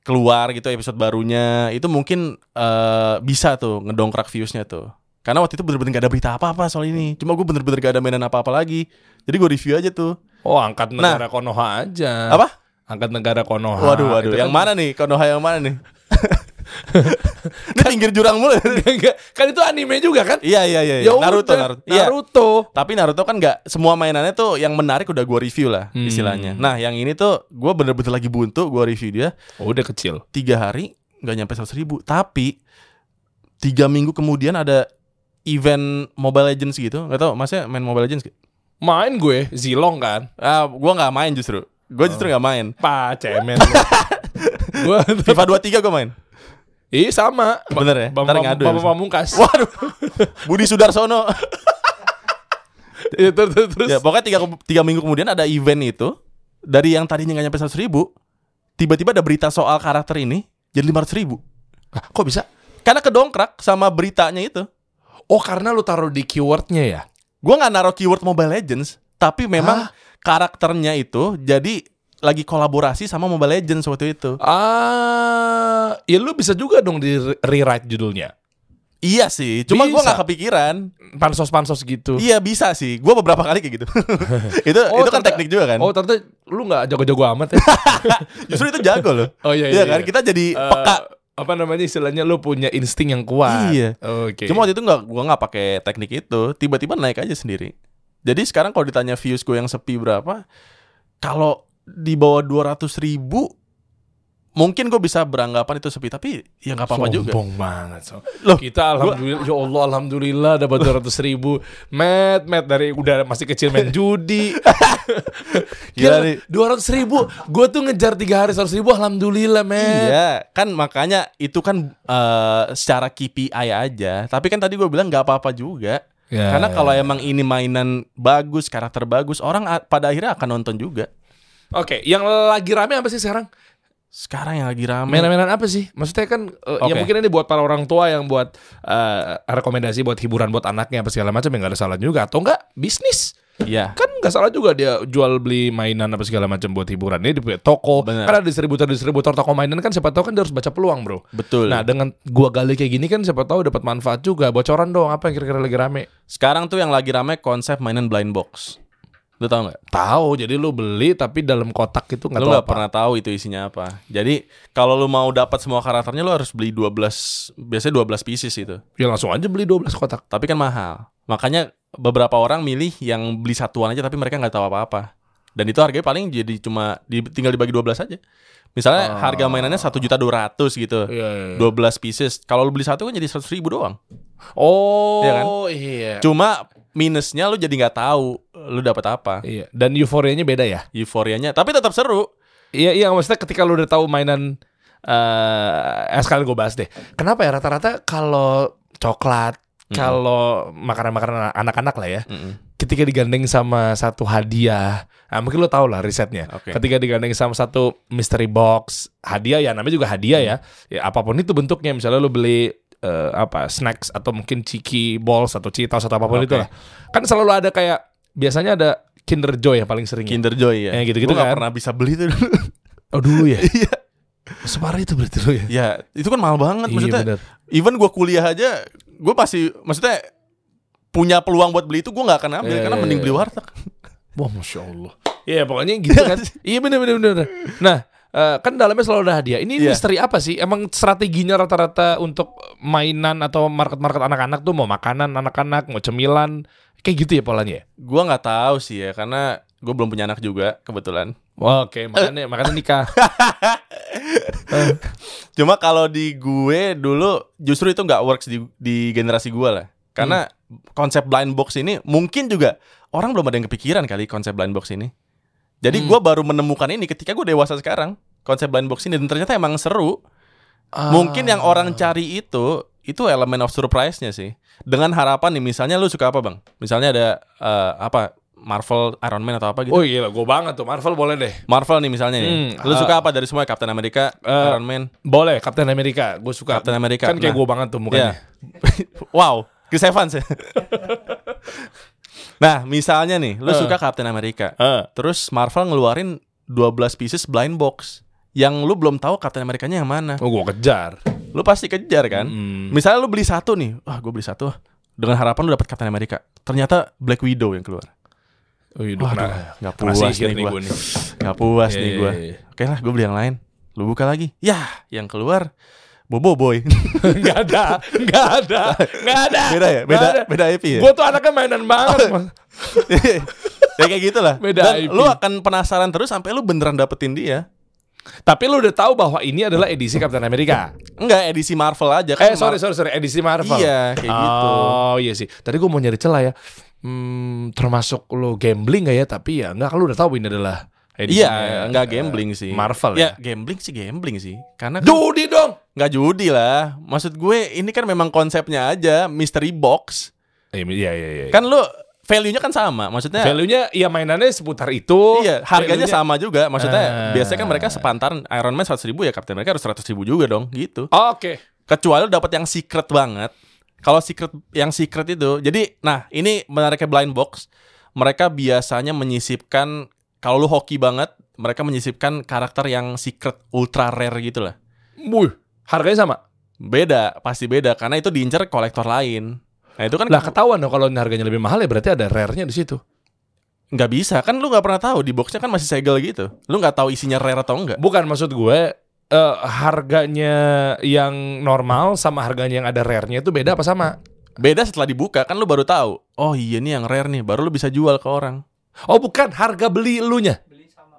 Speaker 1: keluar gitu episode barunya, itu mungkin eh, bisa tuh ngedongkrak viewsnya tuh. Karena waktu itu bener-bener gak ada berita apa-apa soal ini. Cuma gue bener-bener gak ada mainan apa-apa lagi. Jadi gue review aja tuh.
Speaker 2: Oh, angkat negara Konoha aja.
Speaker 1: Apa?
Speaker 2: Angkat negara Konoha.
Speaker 1: Waduh, waduh.
Speaker 2: Itu
Speaker 1: Yang
Speaker 2: kan- (laughs)
Speaker 1: mana nih? Konoha yang mana nih? Ini pinggir jurang mulu.
Speaker 2: Enggak, kan itu anime juga kan?
Speaker 1: iya, iya, iya. iya. Naruto,
Speaker 2: udah,
Speaker 1: Naruto. Iya.
Speaker 2: Naruto.
Speaker 1: Tapi Naruto kan nggak semua mainannya tuh yang menarik udah gua review lah
Speaker 2: Hmm.
Speaker 1: istilahnya. Nah yang ini tuh gua bener-bener lagi buntu gua review dia
Speaker 2: Oh, udah kecil.
Speaker 1: tiga hari nggak nyampe seratus ribu. Tapi tiga minggu kemudian ada event Mobile Legends gitu nggak tau masnya main Mobile Legends nggak?
Speaker 2: Main gue Zilong kan.
Speaker 1: Ah gua nggak main justru. Gua justru nggak main.
Speaker 2: Pa cemen. lu.
Speaker 1: (laughs)
Speaker 2: Gua
Speaker 1: FIFA 23 gua main.
Speaker 2: Ih sama.
Speaker 1: Bener ya? Ntar ngadu ya.
Speaker 2: Bapak pamungkas.
Speaker 1: (laughs) Waduh. Budi Sudarsono.
Speaker 2: Iya, terus terus. terus.
Speaker 1: ya pokoknya tiga, tiga minggu kemudian ada event itu dari yang tadinya nggak nyampe seratus ribu tiba-tiba ada berita soal karakter ini jadi lima ribu.
Speaker 2: Ah, Kok bisa?
Speaker 1: Karena kedongkrak sama beritanya itu.
Speaker 2: Oh, karena lu taruh di keywordnya ya.
Speaker 1: Gua nggak naruh keyword Mobile Legends, tapi memang
Speaker 2: Hah?
Speaker 1: karakternya itu jadi lagi kolaborasi sama Mobile Legends waktu itu.
Speaker 2: Ah, ya lu bisa juga dong di re- rewrite judulnya.
Speaker 1: Iya sih, cuma gue
Speaker 2: Bisa.
Speaker 1: nggak kepikiran.
Speaker 2: pansos-pansos gitu.
Speaker 1: Iya bisa sih, gue beberapa kali kayak
Speaker 2: (laughs)
Speaker 1: gitu. itu
Speaker 2: Oh,
Speaker 1: itu kan
Speaker 2: ternyata-
Speaker 1: teknik juga kan.
Speaker 2: Oh, ternyata lu nggak jago-jago amat
Speaker 1: (laughs)
Speaker 2: ya.
Speaker 1: Justru itu jago loh.
Speaker 2: Oh (laughs) iya
Speaker 1: Iya kan kita jadi
Speaker 2: Eh,
Speaker 1: peka.
Speaker 2: apa namanya istilahnya lu punya insting yang kuat.
Speaker 1: Iya.
Speaker 2: Oke.
Speaker 1: Cuma waktu itu nggak gue nggak pakai teknik itu, tiba-tiba naik aja sendiri. Jadi sekarang kalau ditanya views gue yang sepi berapa, kalau di bawah 200 ribu mungkin gue bisa beranggapan itu sepi tapi ya nggak apa-apa juga.
Speaker 2: Sombong banget. So.
Speaker 1: Loh,
Speaker 2: kita alhamdulillah ya Allah alhamdulillah dapat 200 ribu. Matt, Matt dari udah masih kecil main judi.
Speaker 1: (laughs) Gila,
Speaker 2: Gila,
Speaker 1: nih.
Speaker 2: 200 ribu. Gue tuh ngejar 3 hari 100 ribu. Alhamdulillah, Matt.
Speaker 1: Iya, kan makanya itu kan eh, secara KPI aja. Tapi kan tadi gue bilang nggak apa-apa juga.
Speaker 2: Ya,
Speaker 1: Karena
Speaker 2: ya.
Speaker 1: kalau emang ini mainan bagus, karakter bagus, orang a- pada akhirnya akan nonton juga.
Speaker 2: Oke, yang lagi rame apa sih sekarang?
Speaker 1: Sekarang yang lagi rame.
Speaker 2: Mainan-mainan apa sih? Maksudnya kan eh, ya
Speaker 1: Oke.
Speaker 2: mungkin ini buat para orang tua yang buat eh, rekomendasi buat hiburan buat anaknya apa segala macam ya nggak ada salah juga atau enggak bisnis
Speaker 1: Iya.
Speaker 2: kan nggak salah juga dia jual beli mainan apa segala macam buat hiburan ini di toko
Speaker 1: Bener.
Speaker 2: karena distributor distributor toko mainan kan siapa tahu kan dia harus baca peluang bro
Speaker 1: Betul.
Speaker 2: nah dengan gua gali kayak gini kan siapa tahu dapat manfaat juga bocoran dong apa yang kira-kira lagi rame
Speaker 1: Sekarang tuh yang lagi rame konsep mainan blind box. Lu tau nggak?
Speaker 2: tahu jadi lu beli tapi dalam kotak itu nggak
Speaker 1: Lu nggak
Speaker 2: tahu apa
Speaker 1: pernah tahu itu isinya apa. Jadi kalau lu mau dapat semua karakternya lu harus beli 12 biasanya 12 pieces itu.
Speaker 2: ya langsung aja beli 12 kotak
Speaker 1: Tapi kan mahal. Makanya beberapa orang milih yang beli satuan aja tapi mereka nggak tahu apa-apa. Dan itu harganya paling jadi cuma di, tinggal dibagi 12 aja. Misalnya
Speaker 2: Ah.
Speaker 1: harga mainannya 1 juta 200 gitu.
Speaker 2: Iya, iya.
Speaker 1: 12 pieces. Kalau lu beli satu kan jadi 100 ribu doang.
Speaker 2: oh
Speaker 1: Iya
Speaker 2: iya,
Speaker 1: kan? Cuma minusnya lu jadi nggak tahu lu dapat apa.
Speaker 2: iya dan euforianya beda ya
Speaker 1: Euforianya, tapi tetap seru.
Speaker 2: Iya iya maksudnya ketika lu udah tahu mainan eh sekali gue bahas deh. Kenapa ya rata-rata kalau coklat, kalau makanan-makanan anak-anak lah ya,
Speaker 1: Mm-mm.
Speaker 2: ketika digandeng sama satu hadiah, nah mungkin lu tahu lah risetnya.
Speaker 1: Oke.
Speaker 2: Ketika digandeng sama satu mystery box, hadiah ya namanya juga hadiah ya.
Speaker 1: Mm.
Speaker 2: Ya apapun itu bentuknya, misalnya lu beli eh, apa snacks atau mungkin ciki balls atau citos atau apapun
Speaker 1: Oke.
Speaker 2: itu lah. Kan selalu ada kayak biasanya ada Kinder Joy yang paling sering. ya.
Speaker 1: Kinder Joy ya.
Speaker 2: Ya, gitu-gitu
Speaker 1: Gua nggak
Speaker 2: kan.
Speaker 1: pernah bisa beli itu dulu.
Speaker 2: (laughs) Oh dulu
Speaker 1: (laughs)
Speaker 2: ya.
Speaker 1: Iya.
Speaker 2: Separah itu berarti lu ya.
Speaker 1: ya, itu kan mahal banget maksudnya.
Speaker 2: Iya, bener.
Speaker 1: Even gua kuliah aja, gua pasti maksudnya punya peluang buat beli itu gua nggak akan ambil
Speaker 2: Iya,
Speaker 1: karena
Speaker 2: iya,
Speaker 1: mending
Speaker 2: iya.
Speaker 1: beli warteg.
Speaker 2: Wah, masya Allah. Iya, pokoknya gitu
Speaker 1: (laughs)
Speaker 2: kan. iya, bener bener bener. bener. Nah, eh, kan dalamnya selalu ada hadiah. Ini
Speaker 1: Iya.
Speaker 2: misteri apa sih? Emang strateginya rata-rata untuk mainan atau market-market anak-anak tuh mau makanan anak-anak, mau cemilan, kayak gitu ya polanya. ya?
Speaker 1: Gua nggak tahu sih ya karena gue belum punya anak juga kebetulan. Eh.
Speaker 2: Oke, makanya makanya
Speaker 1: (laughs)
Speaker 2: nikah.
Speaker 1: Cuma kalau di gue dulu justru itu nggak works di, di generasi gua lah. Karena konsep blind box ini mungkin juga orang belum ada yang kepikiran kali konsep blind box ini. Jadi
Speaker 2: Hmm.
Speaker 1: gua baru menemukan ini ketika gue dewasa sekarang konsep blind box ini dan ternyata emang seru.
Speaker 2: Ah.
Speaker 1: Mungkin yang orang cari itu itu elemen of surprise-nya sih. Dengan harapan nih misalnya lu suka apa, Bang? Misalnya ada eh, apa Marvel, Iron Man atau apa gitu.
Speaker 2: Oh iya, gue banget tuh. Marvel boleh deh.
Speaker 1: Marvel nih misalnya nih.
Speaker 2: Hmm,
Speaker 1: Lu
Speaker 2: eh,
Speaker 1: suka apa dari semua Captain America,
Speaker 2: eh,
Speaker 1: Iron Man,
Speaker 2: Boleh, Captain America. Gue suka.
Speaker 1: Captain America.
Speaker 2: Kan kayak
Speaker 1: Nah.
Speaker 2: gue banget tuh mukanya.
Speaker 1: Iya. (laughs) wow, Chris Evans ya. (laughs) nah, misalnya nih, lu
Speaker 2: Eh.
Speaker 1: suka Captain America.
Speaker 2: Eh,
Speaker 1: Terus Marvel ngeluarin 12 pieces blind box yang lu belum tahu Captain Amerikanya yang mana.
Speaker 2: Oh, gue kejar.
Speaker 1: Lu pasti kejar kan?
Speaker 2: Hmm.
Speaker 1: Misalnya lu beli satu nih, wah gue beli satu ah. dengan harapan lu dapat Captain America. Ternyata Black Widow yang keluar.
Speaker 2: Oh, iya,
Speaker 1: Waduh,
Speaker 2: kena-
Speaker 1: nggak
Speaker 2: kena
Speaker 1: puas
Speaker 2: sihir
Speaker 1: nih gua.
Speaker 2: gua nih.
Speaker 1: Gak puas
Speaker 2: Iya,
Speaker 1: nih
Speaker 2: iya,
Speaker 1: gue.
Speaker 2: iya.
Speaker 1: Oke lah, gue beli yang lain. Lu buka lagi. Yah, yang keluar Bobo Boy. (laughs)
Speaker 2: Nggak ada, nggak ada, nggak ada.
Speaker 1: beda ya, beda
Speaker 2: Nggak ada.
Speaker 1: beda Oh. IP ya.
Speaker 2: Gue tuh anaknya mainan banget. Mas.
Speaker 1: (laughs) ya kayak gitulah.
Speaker 2: (laughs) Beda
Speaker 1: Dan
Speaker 2: IP.
Speaker 1: lu akan penasaran terus sampai lu beneran dapetin dia.
Speaker 2: Tapi lu udah tahu bahwa ini adalah edisi Captain America.
Speaker 1: Enggak edisi Marvel aja kan.
Speaker 2: Eh sorry sorry sorry edisi Marvel.
Speaker 1: Iya, kayak gitu.
Speaker 2: Oh iya sih. Tadi gue mau nyari celah ya. Hmm, termasuk lu gambling gak ya? Tapi ya nggak kalau udah tahu ini adalah edisi. eh,
Speaker 1: Iya, enggak gambling sih.
Speaker 2: Marvel
Speaker 1: ya.
Speaker 2: ya?
Speaker 1: gambling sih gambling sih. Karena kan
Speaker 2: Judi dong.
Speaker 1: enggak judi lah. Maksud gue ini kan memang konsepnya aja mystery box.
Speaker 2: Eh, Iya iya iya.
Speaker 1: Kan lu value-nya kan sama. Maksudnya
Speaker 2: Value-nya ya mainannya seputar itu.
Speaker 1: Iya, harganya
Speaker 2: Value-nya-
Speaker 1: sama juga.
Speaker 2: Ah.
Speaker 1: Maksudnya biasanya kan mereka sepantaran Iron Man 100 ribu ya Captain mereka harus 100 ribu juga dong, gitu.
Speaker 2: Oke.
Speaker 1: Kecuali lu dapat yang secret banget. Kalau secret yang secret itu, jadi nah ini menariknya blind box. Mereka biasanya menyisipkan kalau lu hoki banget, mereka menyisipkan karakter yang secret ultra rare gitu lah.
Speaker 2: Wuh, harganya sama.
Speaker 1: Beda, pasti beda karena itu diincar kolektor lain. Nah, itu kan
Speaker 2: Lah ketahuan dong kalau ini harganya lebih mahal ya berarti ada rare-nya di situ.
Speaker 1: nggak bisa kan lu nggak pernah tahu di boxnya kan masih segel gitu lu nggak tahu isinya rare atau enggak
Speaker 2: Bukan maksud gue eh, harganya yang normal sama harganya yang ada rare-nya itu beda apa sama?
Speaker 1: beda setelah dibuka kan lu baru tahu oh iya nih yang rare nih baru lu bisa jual ke orang
Speaker 2: Oh bukan harga beli elunya.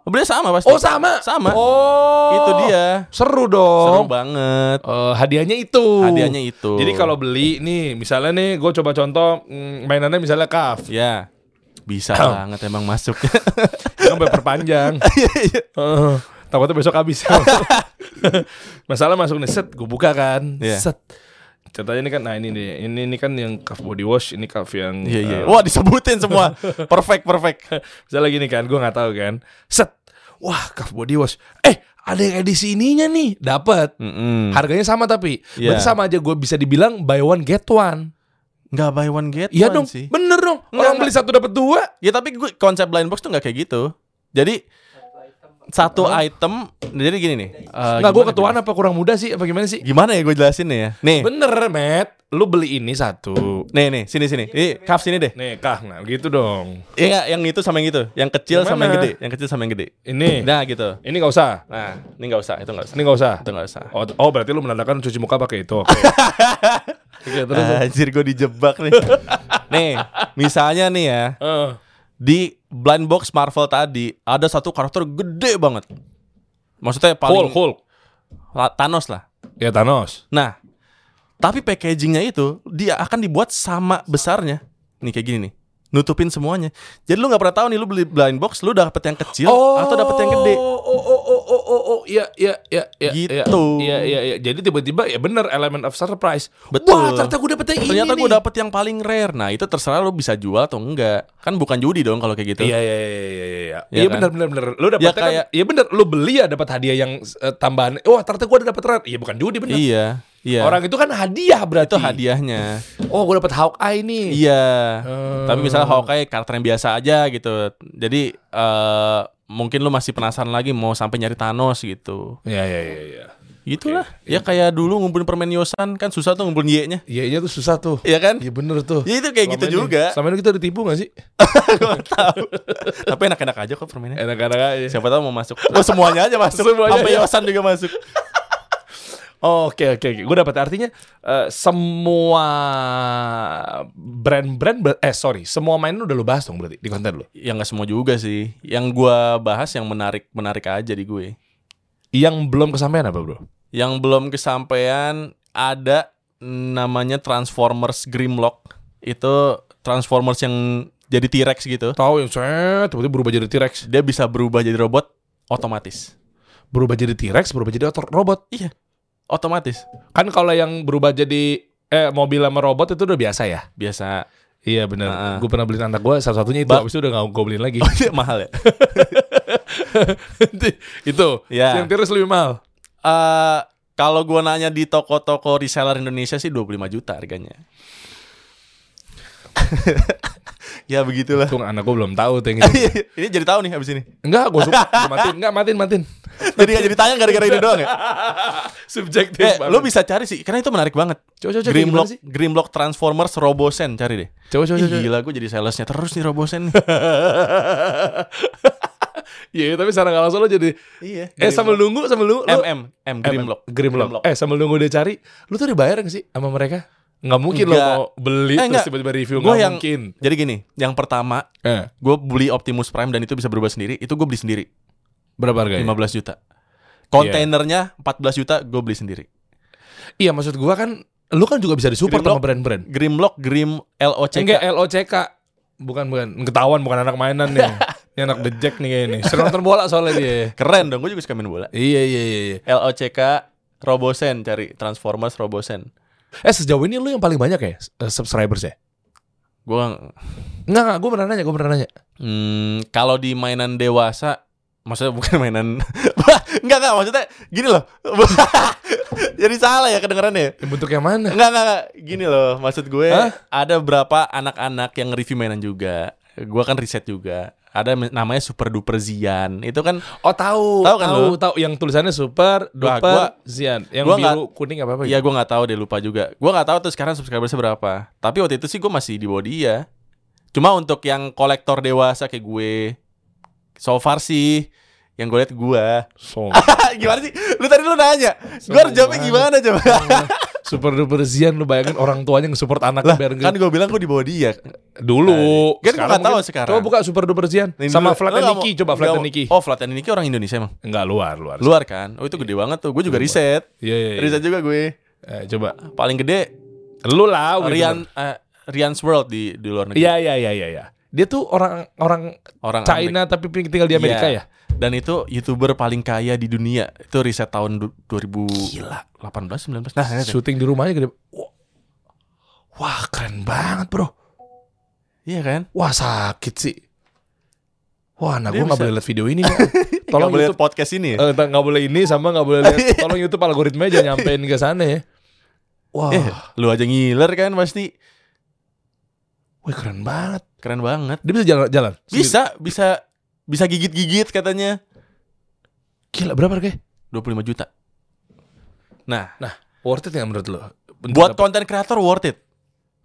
Speaker 1: oh, beli sama pasti
Speaker 2: Oh sama.
Speaker 1: sama
Speaker 2: Oh.
Speaker 1: itu dia
Speaker 2: Seru
Speaker 1: seru
Speaker 2: dong.
Speaker 1: banget
Speaker 2: Eh, hadiahnya itu.
Speaker 1: hadiahnya itu
Speaker 2: Jadi kalau beli nih, misalnya nih, gue coba contoh mm, mainannya misalnya kaf,
Speaker 1: ya bisa (coughs) banget emang masuk
Speaker 2: yang
Speaker 1: (laughs)
Speaker 2: perpanjang.
Speaker 1: Iya,
Speaker 2: Eh, takutnya besok habis. (laughs) Masalah masuk nih, set, gue buka kan,
Speaker 1: Iya.
Speaker 2: set. Contohnya ini kan, nah ini nih, ini ini kan yang kaf body wash, ini kaf yang.
Speaker 1: iya iya
Speaker 2: eh,
Speaker 1: wah disebutin semua
Speaker 2: (laughs)
Speaker 1: perfect perfect
Speaker 2: misalnya gini kan, gue nggak tahu kan, set, wah kaf body wash, eh ada yang edisi ininya nih, dapat.
Speaker 1: (laughs) Mm-mm.
Speaker 2: Harganya sama tapi,
Speaker 1: Iya.
Speaker 2: berarti sama aja gue bisa dibilang buy one get one.
Speaker 1: nggak buy one get
Speaker 2: Iya
Speaker 1: one
Speaker 2: dong,
Speaker 1: sih
Speaker 2: bener dong.
Speaker 1: Nggak,
Speaker 2: Orang beli satu dapat dua.
Speaker 1: ya tapi gue konsep blind box tuh nggak kayak gitu jadi satu item jadi gini nih eh,
Speaker 2: Nggak, gue
Speaker 1: gimana
Speaker 2: ketuaan apa kurang muda sih? Apa gimana sih?
Speaker 1: gimana ya gue jelasin nih ya nih
Speaker 2: Bener, Matt. Lu beli ini satu.
Speaker 1: nih nih sini sini ini cuff sini deh
Speaker 2: Nih, Kah. Nah, gitu dong.
Speaker 1: Iya nggak? yang itu sama yang itu yang kecil
Speaker 2: Yang
Speaker 1: sama yang
Speaker 2: mana?
Speaker 1: gede yang kecil sama yang gede
Speaker 2: Ini.
Speaker 1: nah gitu
Speaker 2: Ini nggak usah.
Speaker 1: nah ini nggak usah itu nggak usah
Speaker 2: Ini nggak usah.
Speaker 1: itu nggak usah
Speaker 2: Oh, oh, berarti lu menandakan cuci muka pakai
Speaker 1: (laughs)
Speaker 2: itu. Oke. Oke, terus.
Speaker 1: Nah, Anjir gue dijebak (laughs) nih Nih misalnya nih ya
Speaker 2: Eh,
Speaker 1: Di blind box Marvel tadi Ada satu karakter gede banget Maksudnya
Speaker 2: Hulk,
Speaker 1: paling
Speaker 2: Hulk.
Speaker 1: La- Thanos lah
Speaker 2: Ya Thanos.
Speaker 1: Nah, tapi packagingnya itu dia akan dibuat sama besarnya. Nih kayak gini nih, nutupin semuanya. Jadi lu nggak pernah tahu nih lu beli blind box, lu dapet yang kecil atau dapet yang gede.
Speaker 2: Oh, oh, oh, oh, oh, oh, oh. Iya, iya, iya, iya. iya.
Speaker 1: Gitu.
Speaker 2: Iya, iya, iya. Jadi tiba-tiba ya bener element of surprise.
Speaker 1: Betul.
Speaker 2: Wah, ternyata gue dapet yang ini
Speaker 1: Ternyata gue
Speaker 2: iya nih.
Speaker 1: dapet yang paling rare. Nah itu terserah lu bisa jual atau enggak. Kan bukan judi dong kalau kayak gitu.
Speaker 2: Iya iya iya iya iya. Iya
Speaker 1: Iya
Speaker 2: Iya
Speaker 1: kan?
Speaker 2: benar benar benar. Lu dapat
Speaker 1: Ya,
Speaker 2: ya,
Speaker 1: kayak-
Speaker 2: kan, iya benar lu beli ya dapat hadiah yang eh, tambahan. Wah, ternyata gua ada dapat red. Iya bukan judi benar.
Speaker 1: iya. iya.
Speaker 2: Orang itu kan hadiah berarti.
Speaker 1: itu hadiahnya.
Speaker 2: Oh, gua dapat Hawkeye nih.
Speaker 1: Iya.
Speaker 2: Eh.
Speaker 1: Tapi misalnya Hawkeye karakter yang biasa aja gitu. Jadi eh mungkin lu masih penasaran lagi mau sampai nyari Thanos gitu.
Speaker 2: Iya iya iya iya.
Speaker 1: Gitulah. Ya kayak dulu ngumpulin permen Yosan kan susah tuh ngumpulin Y-nya. (laughs)
Speaker 2: Iya iya tuh susah tuh.
Speaker 1: Iya kan?
Speaker 2: Iya bener tuh.
Speaker 1: Ya itu kayak
Speaker 2: Selama
Speaker 1: gitu
Speaker 2: ini-
Speaker 1: juga.
Speaker 2: Selama ini kita ditipu gak sih?
Speaker 1: Tapi enak-enak aja kok permennya.
Speaker 2: Enak-enak aja.
Speaker 1: Siapa tahu mau
Speaker 2: (laughs)
Speaker 1: masuk. Oh, semuanya aja masuk.
Speaker 2: Eh. Semuanya ya.
Speaker 1: Sampai
Speaker 2: aja.
Speaker 1: Yosan juga masuk.
Speaker 2: Oh, Oke oke oke. Gue dapat artinya eh, semua brand-brand ber- eh sorry semua mainan udah lu bahas dong berarti di konten lu.
Speaker 1: Ya nggak semua juga sih. Yang gua bahas yang menarik-menarik aja di gue.
Speaker 2: Yang belum kesampaian apa bro?
Speaker 1: Yang belum kesampaian ada namanya Transformers Grimlock. Itu Transformers yang jadi T-Rex gitu.
Speaker 2: Tahu yang set tiba-tiba berubah jadi T-Rex.
Speaker 1: Dia bisa berubah jadi robot otomatis. Iya,
Speaker 2: berubah jadi T-Rex, berubah jadi otor robot.
Speaker 1: Otomatis.
Speaker 2: Kan kalau yang berubah jadi eh mobil sama robot itu udah biasa ya.
Speaker 1: Biasa. (laughs)
Speaker 2: Iya benar.
Speaker 1: Heeh.
Speaker 2: Gue pernah beliin anak gue satu-satunya itu.
Speaker 1: Ba-
Speaker 2: Habis itu udah gak gue beliin (laughs) lagi.
Speaker 1: Oh iya mahal ya. (laughs)
Speaker 2: itu.
Speaker 1: Iya.
Speaker 2: Yang T-Rex lebih mahal.
Speaker 1: Eh, kalau gua nanya di toko-toko reseller Indonesia sih 25 juta harganya. (laughs) ya begitulah. (laughs)
Speaker 2: Tuh anak gue belum tahu tuh yang itu.
Speaker 1: ini jadi tahu nih habis ini.
Speaker 2: (laughs) Enggak, gue suka. Gua matiin. Enggak, matiin, matiin.
Speaker 1: Jadi nggak jadi tanya gara-gara ini doang ya.
Speaker 2: (laughs) Subjektif
Speaker 1: Eh,
Speaker 2: banget.
Speaker 1: lo bisa cari sih, karena itu menarik banget.
Speaker 2: Coba, coba, coba,
Speaker 1: Grimlock,
Speaker 2: gimana sih? (laughs)
Speaker 1: Grimlock Transformers Robosen cari deh.
Speaker 2: Coba, coba,
Speaker 1: Ih,
Speaker 2: coba.
Speaker 1: gila gue jadi salesnya terus nih
Speaker 2: (laughs)
Speaker 1: Robosen.
Speaker 2: Iya, tapi secara nggak langsung lo jadi...
Speaker 1: iya.
Speaker 2: Eh, sambil nunggu, sambil nunggu. lo-
Speaker 1: MM, M Grimlock.
Speaker 2: Grimlock. Eh, sambil nunggu dia cari. Lu tuh dibayar nggak sih sama mereka? Nggak mungkin lo
Speaker 1: Nggak.
Speaker 2: mau beli
Speaker 1: Eh, nggak.
Speaker 2: terus tiba-tiba review.
Speaker 1: Gua
Speaker 2: Nggak
Speaker 1: yang-
Speaker 2: mungkin.
Speaker 1: Jadi gini, yang pertama
Speaker 2: Eh,
Speaker 1: gue beli Optimus Prime dan itu bisa berubah sendiri. Itu gue beli sendiri.
Speaker 2: berapa harganya?
Speaker 1: 15 juta. Kontainernya 14 juta gue beli sendiri.
Speaker 2: Iya maksud gua kan lu kan juga bisa disupport
Speaker 1: Grimlock.
Speaker 2: sama brand-brand.
Speaker 1: Grimlock Grim LOCK.
Speaker 2: Enggak LOCK. Bukan bukan ketahuan bukan anak mainan
Speaker 1: (laughs)
Speaker 2: nih. Ini anak The Jack nih kayaknya nih. Sering nonton bola soalnya dia.
Speaker 1: Keren dong, gue juga suka main bola.
Speaker 2: Iya iya iya. iya.
Speaker 1: LOCK Robosen cari Transformers Robosen.
Speaker 2: Eh sejauh ini lu yang paling banyak ya eh, subscribers ya?
Speaker 1: Gue
Speaker 2: Enggak enggak, gua beneran nanya, gua beneran nanya.
Speaker 1: hmm, kalau di mainan dewasa maksudnya bukan (laughs) mainan enggak enggak maksudnya gini loh. (laughs) Jadi salah ya kedengerannya.
Speaker 2: Yang bentuk yang mana?
Speaker 1: Enggak, enggak, enggak. Gini loh, maksud gue
Speaker 2: Hah?
Speaker 1: ada berapa anak-anak yang review mainan juga. Gue kan riset juga. ada men- namanya Super Duper Zian. Itu kan
Speaker 2: Oh tahu,
Speaker 1: Tahu kan
Speaker 2: tahu,
Speaker 1: lu?
Speaker 2: tahu yang tulisannya
Speaker 1: Wah,
Speaker 2: super duper
Speaker 1: gua-
Speaker 2: zian, yang
Speaker 1: gua
Speaker 2: biru kuning gitu. apa apa
Speaker 1: Iya gue nggak tahu deh lupa juga. Gue nggak tahu tuh sekarang subscribersnya berapa. Tapi waktu itu sih gue masih di bawah dia. Cuma untuk yang kolektor dewasa kayak gue, so far sih yang gue liat gue.
Speaker 2: So, (laughs)
Speaker 1: (laughs) gimana sih? Lu tadi lu nanya, gue harus jawabnya gimana coba?
Speaker 2: super duper zian lu bayangin orang tuanya nge-support anak
Speaker 1: lah,
Speaker 2: biar
Speaker 1: kan
Speaker 2: nggak-
Speaker 1: gue bilang gue di bawah dia.
Speaker 2: dulu.
Speaker 1: Kan gua nggak tahu
Speaker 2: mungkin-
Speaker 1: sekarang.
Speaker 2: Coba buka super duper zian
Speaker 1: Ini dulu,
Speaker 2: sama
Speaker 1: lu
Speaker 2: Flat
Speaker 1: nggak
Speaker 2: Niki,
Speaker 1: mau-
Speaker 2: coba
Speaker 1: nggak
Speaker 2: Flat
Speaker 1: mau-
Speaker 2: Niki. Iya.
Speaker 1: Oh Flat and Niki orang Indonesia emang.
Speaker 2: Enggak luar, luar.
Speaker 1: Luar kan? Oh itu gede banget tuh. Gue juga riset.
Speaker 2: Iya, iya, iya.
Speaker 1: Riset juga gue.
Speaker 2: Eh, coba.
Speaker 1: Paling gede
Speaker 2: Lu lah, gitu.
Speaker 1: Rian eh, Rian's World di di luar negeri.
Speaker 2: Iya, iya, iya, iya, iya. Dia tuh orang orang
Speaker 1: Orang Amerika.
Speaker 2: China tapi tinggal di Amerika
Speaker 1: Iya.
Speaker 2: ya?
Speaker 1: Dan itu youtuber paling kaya di dunia. Itu riset tahun du- 2018 19. Nah, lihat ya.
Speaker 2: ya. Syuting di rumahnya gede. Wah, Wah, keren banget, Bro.
Speaker 1: iya kan?
Speaker 2: Wah, sakit sih. Wah, nah
Speaker 1: Dia
Speaker 2: gue nggak
Speaker 1: bisa-
Speaker 2: boleh liat video ini. Bang. Tolong
Speaker 1: Nggak boleh
Speaker 2: YouTube.
Speaker 1: lihat podcast ini ya?
Speaker 2: Eh, ntar nggak boleh ini sama nggak boleh lihat. Tolong YouTube algoritmanya jangan nyampein ke sana ya. Wah,
Speaker 1: Eh, lu aja ngiler kan pasti.
Speaker 2: wih keren banget.
Speaker 1: Keren banget.
Speaker 2: Dia bisa jalan-jalan.
Speaker 1: Bisa, bisa bisa gigit-gigit katanya.
Speaker 2: Gila berapa harganya?
Speaker 1: 25 juta. Nah,
Speaker 2: Worth it nggak menurut lo? Bentuk
Speaker 1: buat
Speaker 2: dapat-
Speaker 1: konten kreator worth it.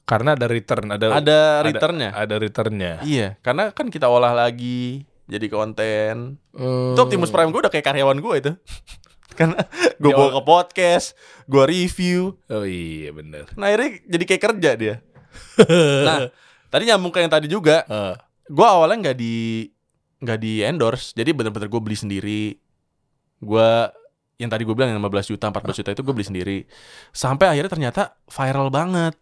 Speaker 2: karena ada return, ada
Speaker 1: Ada returnnya.
Speaker 2: Ada returnnya.
Speaker 1: Iya, karena kan kita olah lagi jadi konten. Itu Optimus Prime gue udah kayak karyawan gue itu. (laughs) karena gue
Speaker 2: Ya,
Speaker 1: bawa ke podcast, gue review,
Speaker 2: Oh iya bener.
Speaker 1: Nah akhirnya jadi kayak kerja dia Nah tadi nyambung ke yang tadi juga
Speaker 2: Eh,
Speaker 1: Gue awalnya nggak di nggak di endorse Jadi bener-bener gue beli sendiri Gue yang tadi gue bilang yang 15 juta 14 juta itu gue beli sendiri Sampai akhirnya ternyata viral banget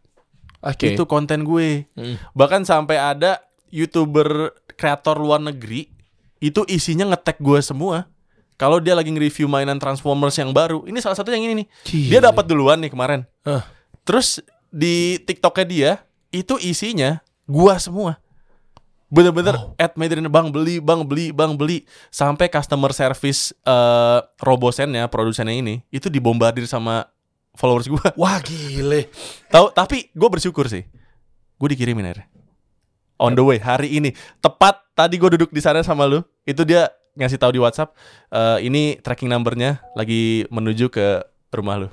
Speaker 2: Oke.
Speaker 1: Itu konten gue
Speaker 2: Mm.
Speaker 1: Bahkan sampai ada youtuber kreator luar negeri Itu isinya ngetek gue semua kalau dia lagi nge-review mainan Transformers yang baru, ini salah satu yang ini nih. Dia
Speaker 2: Gila.
Speaker 1: dapat duluan nih kemarin.
Speaker 2: Eh,
Speaker 1: Terus di TikToknya dia itu isinya gua semua. Bener-bener ad Medina bang beli, bang beli, bang beli sampai customer service eh robosennya, produsennya ini itu dibombardir sama followers gua.
Speaker 2: (laughs) Wah gile.
Speaker 1: Tahu? Tapi gua bersyukur sih. Gua dikirimin akhirnya. On the way hari ini. Tepat tadi gua duduk di sana sama lu. Itu dia ngasih tahu di WhatsApp eh, ini tracking numbernya lagi menuju ke rumah lu.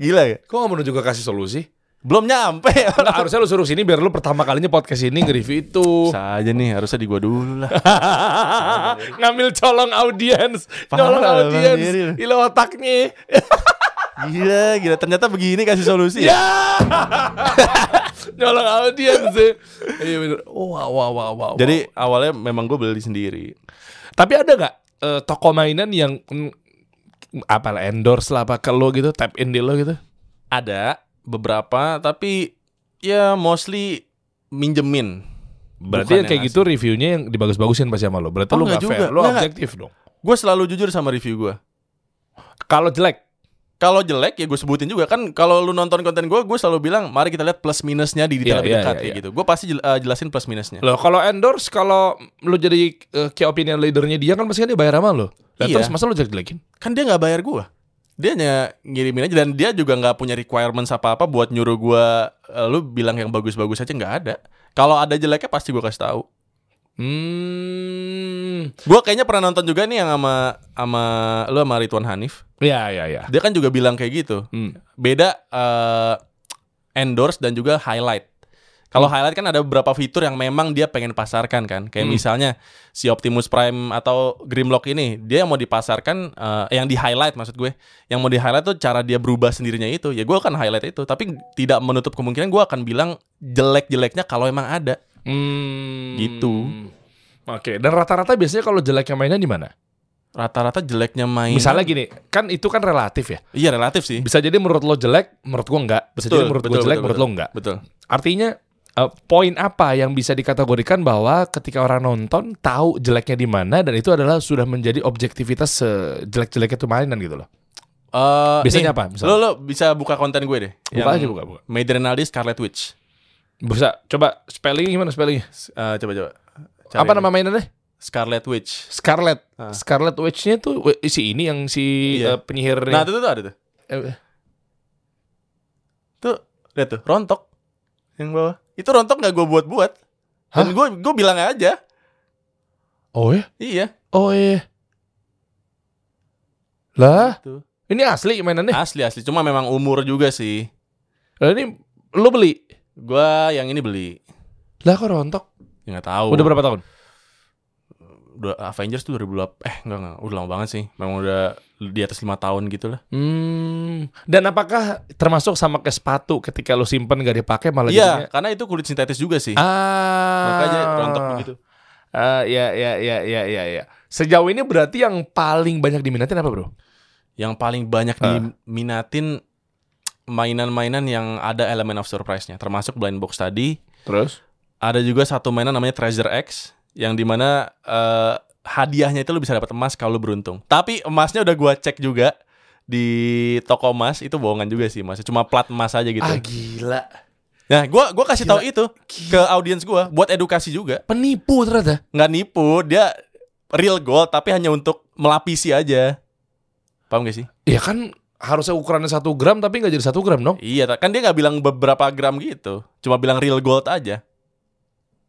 Speaker 1: Gila ya?
Speaker 2: Kok gak menuju ke kasih solusi?
Speaker 1: Belum nyampe.
Speaker 2: Nah, harusnya lu suruh sini biar lu pertama kalinya podcast ini nge-review itu.
Speaker 1: Bisa aja nih, harusnya di gua dulu lah.
Speaker 2: Ngambil colong audiens,
Speaker 1: Parah,
Speaker 2: colong
Speaker 1: parah Iya.
Speaker 2: audiens,
Speaker 1: diri.
Speaker 2: ilo otaknya.
Speaker 1: Gila, gila. Ternyata begini kasih solusi ya.
Speaker 2: ya. (laughs) Nyolong audiens sih. Iya bener. Wah, wah, wah, wah. wah.
Speaker 1: Jadi awalnya memang gue beli sendiri.
Speaker 2: tapi ada nggak eh, toko mainan yang mm, apa lah, endorse lah apa ke lo gitu, tap in di lo gitu?
Speaker 1: Ada beberapa, tapi ya mostly minjemin.
Speaker 2: Berarti yang kayak gitu reviewnya yang dibagus-bagusin pasti sama lo. Berarti
Speaker 1: Oh,
Speaker 2: lo
Speaker 1: nggak
Speaker 2: nggak fair,
Speaker 1: juga.
Speaker 2: lo
Speaker 1: Nggak, nggak.
Speaker 2: objektif dong.
Speaker 1: Gue selalu jujur sama review gue.
Speaker 2: Kalau jelek,
Speaker 1: Kalau jelek ya gue sebutin juga kan. Kalau lu nonton konten gue, gue selalu bilang, mari kita lihat plus minusnya di detail
Speaker 2: Iya,
Speaker 1: lebih
Speaker 2: iya,
Speaker 1: dekat
Speaker 2: iya,
Speaker 1: kayak
Speaker 2: iya.
Speaker 1: gitu. Gue pasti jel- eh, jelasin plus minusnya.
Speaker 2: Loh kalau endorse kalau lu jadi eh, key opinion leadernya dia kan pasti kan dia bayar sama lo. Lah
Speaker 1: Iya.
Speaker 2: terus masa lu jelek-jelekin?
Speaker 1: kan dia nggak bayar gua dia hanya ngirimin aja dan dia juga nggak punya requirements apa apa buat nyuruh gua "E, lu bilang yang bagus-bagus aja nggak ada kalau ada jeleknya pasti gua kasih tahu
Speaker 2: Hmm.
Speaker 1: gua kayaknya pernah nonton juga nih yang sama sama lu sama Ridwan Hanif
Speaker 2: Ya ya ya.
Speaker 1: dia kan juga bilang kayak gitu
Speaker 2: Hmm.
Speaker 1: beda eh, endorse dan juga highlight kalau highlight kan ada beberapa fitur yang memang dia pengen pasarkan kan. Kayak
Speaker 2: Hmm.
Speaker 1: misalnya si Optimus Prime atau Grimlock ini, dia yang mau dipasarkan eh, yang di highlight maksud gue. Yang mau di highlight tuh cara dia berubah sendirinya itu. Ya gue akan highlight itu, tapi tidak menutup kemungkinan gue akan bilang jelek-jeleknya kalau emang ada.
Speaker 2: Hmm.
Speaker 1: Gitu.
Speaker 2: Oke, dan rata-rata biasanya kalau jeleknya mainnya di mana?
Speaker 1: Rata-rata jeleknya main.
Speaker 2: Misalnya gini, kan itu kan relatif ya.
Speaker 1: iya relatif sih.
Speaker 2: Bisa jadi menurut lo jelek, menurut gua enggak. Bisa
Speaker 1: Betul,
Speaker 2: jadi menurut
Speaker 1: betul,
Speaker 2: gua jelek,
Speaker 1: betul,
Speaker 2: menurut lo enggak.
Speaker 1: Betul.
Speaker 2: Artinya eh, poin apa yang bisa dikategorikan bahwa ketika orang nonton tahu jeleknya di mana dan itu adalah sudah menjadi objektivitas sejelek-jeleknya itu mainan gitu loh.
Speaker 1: Eh, nih,
Speaker 2: Biasanya apa? Misalnya?
Speaker 1: Lo, lo bisa buka konten gue deh.
Speaker 2: Buka aja, buka, buka.
Speaker 1: May Rinaldi, Scarlet Witch.
Speaker 2: Bisa coba spelling gimana spellingnya?
Speaker 1: Eh, coba coba.
Speaker 2: Apa nama mainannya?
Speaker 1: Scarlet Witch.
Speaker 2: Scarlet.
Speaker 1: Ah.
Speaker 2: Scarlet Witch-nya tuh we- si ini yang si
Speaker 1: Iya.
Speaker 2: eh, penyihir.
Speaker 1: Nah, itu tuh, tuh ada tuh.
Speaker 2: Eh,
Speaker 1: Tuh, lihat tuh, rontok yang bawah. Itu rontok nggak gue buat-buat. Dan gue gue bilang aja,
Speaker 2: Oh ya?
Speaker 1: iya.
Speaker 2: Oh iya. Lah,
Speaker 1: Gitu.
Speaker 2: ini asli mainannya.
Speaker 1: Asli asli, cuma memang umur juga sih.
Speaker 2: Lah ini lu beli.
Speaker 1: Gua yang ini beli.
Speaker 2: Lah kok rontok?
Speaker 1: Ya, nggak tahu.
Speaker 2: Udah berapa tahun?
Speaker 1: Udah- Avengers tuh 2008 eh enggak enggak, udah lama banget sih. Memang udah di atas lima tahun gitu lah.
Speaker 2: Hmm. Dan apakah termasuk sama ke sepatu ketika lu simpen gak dipakai malah
Speaker 1: Iya,
Speaker 2: jadinya-
Speaker 1: karena itu kulit sintetis juga sih.
Speaker 2: Ah.
Speaker 1: Makanya rontok begitu.
Speaker 2: Ah, ya ya ya ya ya ya. Sejauh ini berarti yang paling banyak diminatin apa, Bro?
Speaker 1: Yang paling banyak
Speaker 2: Ah.
Speaker 1: diminatin mainan-mainan yang ada elemen of surprise-nya, termasuk blind box tadi.
Speaker 2: Terus?
Speaker 1: Ada juga satu mainan namanya Treasure X yang dimana eh, hadiahnya itu lu bisa dapat emas kalau lu beruntung. Tapi emasnya udah gua cek juga di toko emas itu bohongan juga sih mas cuma plat emas aja gitu.
Speaker 2: Ah, gila.
Speaker 1: Nah, gua gua kasih tahu
Speaker 2: Gila.
Speaker 1: itu ke audiens gua buat edukasi juga.
Speaker 2: Penipu ternyata.
Speaker 1: Nggak nipu, dia real gold tapi hanya untuk melapisi aja. Paham gak sih?
Speaker 2: Ya kan harusnya ukurannya satu gram tapi nggak jadi satu gram dong.
Speaker 1: Iya, ta- kan dia nggak bilang beberapa gram gitu. Cuma bilang real gold aja.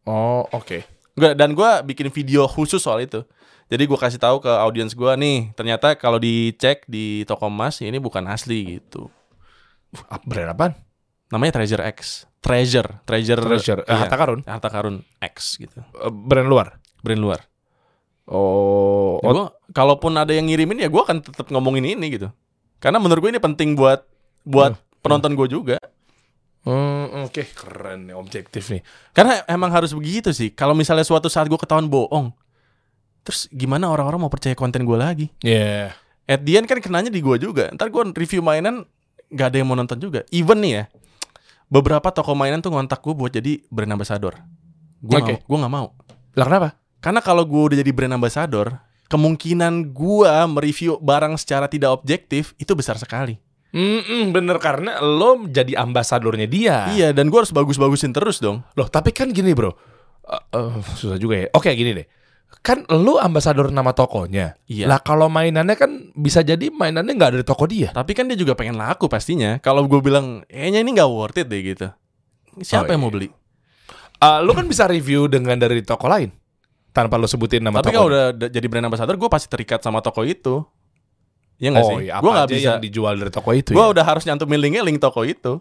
Speaker 2: Oh, oke.
Speaker 1: Gua, dan gua bikin video khusus soal itu. Jadi gua kasih tahu ke audiens gua nih, ternyata kalau dicek di toko emas ini bukan asli gitu.
Speaker 2: Ah, Brand apaan?
Speaker 1: Namanya Treasure X. Treasure, Treasure,
Speaker 2: Treasure. Eh,
Speaker 1: iya.
Speaker 2: Harta Karun.
Speaker 1: Harta Karun X gitu.
Speaker 2: Eh, Brand luar.
Speaker 1: Brand luar.
Speaker 2: Oh,
Speaker 1: Ya, gua kalaupun ada yang ngirimin ya gue akan tetap ngomongin ini gitu. Karena menurut gue ini penting buat buat penonton gue juga.
Speaker 2: Hmm, oke, keren nih objektif nih.
Speaker 1: Karena emang harus begitu sih. Kalau misalnya suatu saat gue ketahuan bohong, terus gimana orang-orang mau percaya konten gue lagi?
Speaker 2: Iya.
Speaker 1: At the end kan kenanya di gue juga. Ntar gue review mainan gak ada yang mau nonton juga. Even nih ya, beberapa toko mainan tuh ngontak gue buat jadi brand ambassador. Gue
Speaker 2: Oke.
Speaker 1: gak, gue gak mau.
Speaker 2: Lah kenapa?
Speaker 1: Karena kalau gue udah jadi brand ambassador, kemungkinan gue mereview barang secara tidak objektif itu besar sekali.
Speaker 2: Mm-mm, bener karena lo jadi ambasadornya dia.
Speaker 1: Iya, dan gue harus bagus-bagusin terus dong.
Speaker 2: Loh, tapi kan gini bro, Eh, eh, susah juga ya. Oke, gini deh. Kan lo ambasador nama tokonya.
Speaker 1: Iya.
Speaker 2: Lah kalau mainannya kan bisa jadi mainannya nggak dari toko dia.
Speaker 1: Tapi kan dia juga pengen laku pastinya. Kalau gue bilang, kayaknya ini nggak worth it deh gitu. Siapa
Speaker 2: Oh,
Speaker 1: yang
Speaker 2: iya.
Speaker 1: mau beli?
Speaker 2: Eh, lo kan bisa review dengan dari toko lain tanpa lo sebutin nama
Speaker 1: Tapi
Speaker 2: toko. ya.
Speaker 1: kalau udah da- jadi brand ambassador, gue pasti terikat sama toko itu. Iya nggak
Speaker 2: oh,
Speaker 1: sih?
Speaker 2: iya, apa
Speaker 1: gue nggak
Speaker 2: aja
Speaker 1: bisa.
Speaker 2: yang dijual dari toko itu.
Speaker 1: Gue
Speaker 2: ya?
Speaker 1: udah harus nyantumin linknya link toko itu.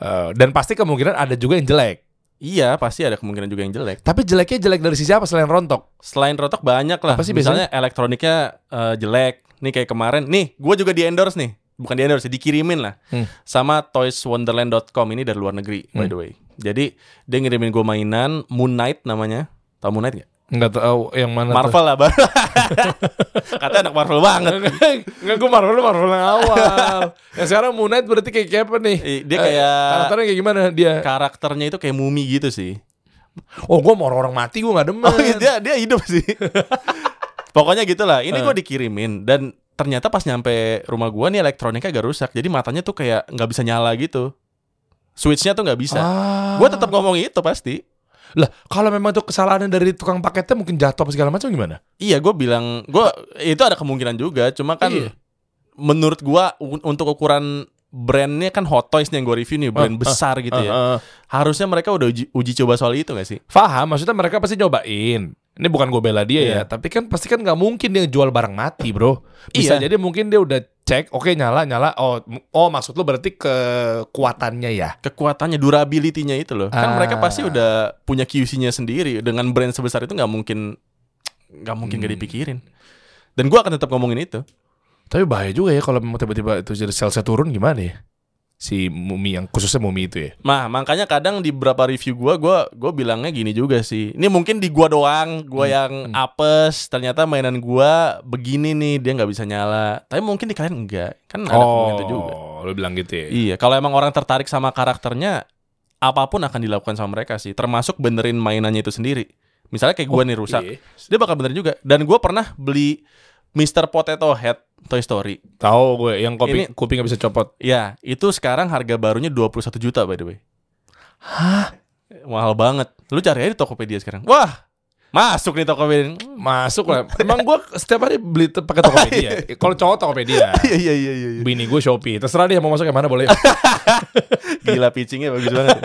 Speaker 2: Eh, dan pasti kemungkinan ada juga yang jelek.
Speaker 1: Iya, pasti ada kemungkinan juga yang jelek.
Speaker 2: Tapi jeleknya jelek dari sisi apa selain rontok?
Speaker 1: Selain rotok banyak lah.
Speaker 2: Apa sih
Speaker 1: Misalnya elektroniknya eh, jelek. Nih kayak kemarin. Nih, gue juga di endorse nih. Bukan di endorse, dikirimin lah.
Speaker 2: Hmm.
Speaker 1: Sama toyswonderland.com ini dari luar negeri by
Speaker 2: Hmm.
Speaker 1: the way. Jadi dia ngirimin gue mainan Moon Knight namanya. Tau Moon Knight gak?
Speaker 2: Nggak tahu yang mana. tuh. (laughs)
Speaker 1: Marvel lah baru. (laughs) Katanya anak Marvel (laughs) banget.
Speaker 2: Enggak, gue Marvel, Marvel yang
Speaker 1: (laughs)
Speaker 2: awal. yang sekarang Moon Knight berarti kayak, kayak apa nih?
Speaker 1: Eh, Dia
Speaker 2: Eh,
Speaker 1: kayak
Speaker 2: karakternya kayak gimana dia?
Speaker 1: karakternya itu kayak mumi gitu sih.
Speaker 2: Oh, gue mau orang-orang mati gue nggak demen.
Speaker 1: Oh iya, dia dia hidup sih. (laughs) Pokoknya gitulah.
Speaker 2: Eh.
Speaker 1: Ini gue dikirimin dan ternyata pas nyampe rumah gua nih elektroniknya agak rusak. Jadi matanya tuh kayak nggak bisa nyala gitu. Switchnya tuh nggak bisa.
Speaker 2: Ah.
Speaker 1: Gua tetap ngomong itu pasti.
Speaker 2: lah kalau memang itu kesalahannya dari tukang paketnya mungkin jatuh apa segala macam gimana?
Speaker 1: Iya, gue bilang gua itu ada kemungkinan juga. Cuma kan
Speaker 2: Iya.
Speaker 1: menurut gua u- untuk ukuran brandnya kan Hot Toys nih yang gue review nih brand
Speaker 2: Ah, ah,
Speaker 1: besar gitu ya.
Speaker 2: Eh, eh.
Speaker 1: Harusnya mereka udah uji, uji coba soal itu gak sih?
Speaker 2: Faham, maksudnya mereka pasti nyobain. Ini bukan gue bela dia
Speaker 1: Iya.
Speaker 2: ya, tapi kan pasti kan nggak mungkin dia jual barang mati, bro. Bisa
Speaker 1: Iya.
Speaker 2: jadi mungkin dia udah cek, oke nyala nyala. Oh, m- oh maksud lo berarti kekuatannya ya?
Speaker 1: Kekuatannya, durability-nya itu loh. Kan
Speaker 2: Ah.
Speaker 1: mereka pasti udah punya QC-nya sendiri. Dengan brand sebesar itu nggak mungkin nggak mungkin gak
Speaker 2: Hmm.
Speaker 1: dipikirin. Dan gua akan tetap ngomongin itu.
Speaker 2: Tapi bahaya juga ya kalau memang tiba-tiba itu jadi salesnya turun gimana ya? Si mumi yang khususnya mumi itu ya.
Speaker 1: Nah, makanya kadang di beberapa review gua gua gua bilangnya gini juga sih. Ini mungkin di gua doang, gua yang
Speaker 2: hmm.
Speaker 1: apes, ternyata mainan gua begini nih, dia nggak bisa nyala. Tapi mungkin di kalian enggak. Kan ada
Speaker 2: Oh.
Speaker 1: kemungkinan itu juga.
Speaker 2: lo bilang gitu ya.
Speaker 1: Iya, kalau emang orang tertarik sama karakternya, apapun akan dilakukan sama mereka sih, termasuk benerin mainannya itu sendiri. Misalnya kayak gua nih rusak,
Speaker 2: Iya.
Speaker 1: dia bakal bener juga. Dan gua pernah beli Mr. Potato Head Toy Story.
Speaker 2: Tahu gue yang
Speaker 1: Ini-
Speaker 2: kopi kupingnya bisa copot.
Speaker 1: Ya, itu sekarang harga barunya 21 juta by the way.
Speaker 2: Hah?
Speaker 1: Mahal banget. Lu cari aja di Tokopedia sekarang. Wah, masuk nih Tokopedia.
Speaker 2: Masuk lah. Emang gue setiap hari beli te- pakai (laughs) Tokopedia. Kalau cowok Tokopedia.
Speaker 1: Iya iya iya iya.
Speaker 2: Bini gue Shopee. Terserah dia mau masuk yang mana boleh.
Speaker 1: Gila pitchingnya bagus banget.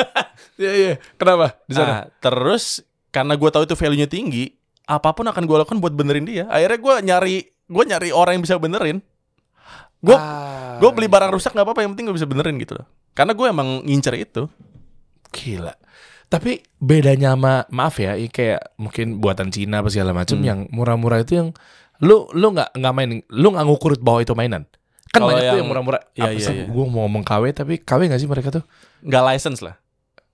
Speaker 2: Iya iya. Kenapa? Di sana.
Speaker 1: Nah, terus karena gue tahu itu value-nya tinggi apapun akan gue lakukan buat benerin dia akhirnya gue nyari gue nyari orang yang bisa benerin gue
Speaker 2: Ah,
Speaker 1: gue beli barang rusak nggak apa-apa yang penting gue bisa benerin gitu loh karena gue emang ngincer itu
Speaker 2: Gila. Tapi bedanya sama maaf ya, ini kayak mungkin buatan Cina apa segala macam
Speaker 1: Hmm.
Speaker 2: yang murah-murah itu yang lu lu nggak nggak main, lu nggak ngukur bahwa itu mainan. Kan
Speaker 1: Kalau
Speaker 2: banyak tuh
Speaker 1: Oh, yang-
Speaker 2: yang murah-murah.
Speaker 1: Iya,
Speaker 2: apa
Speaker 1: iya,
Speaker 2: sih?
Speaker 1: iya.
Speaker 2: Gue mau ngomong KW tapi KW nggak sih mereka tuh?
Speaker 1: nggak license lah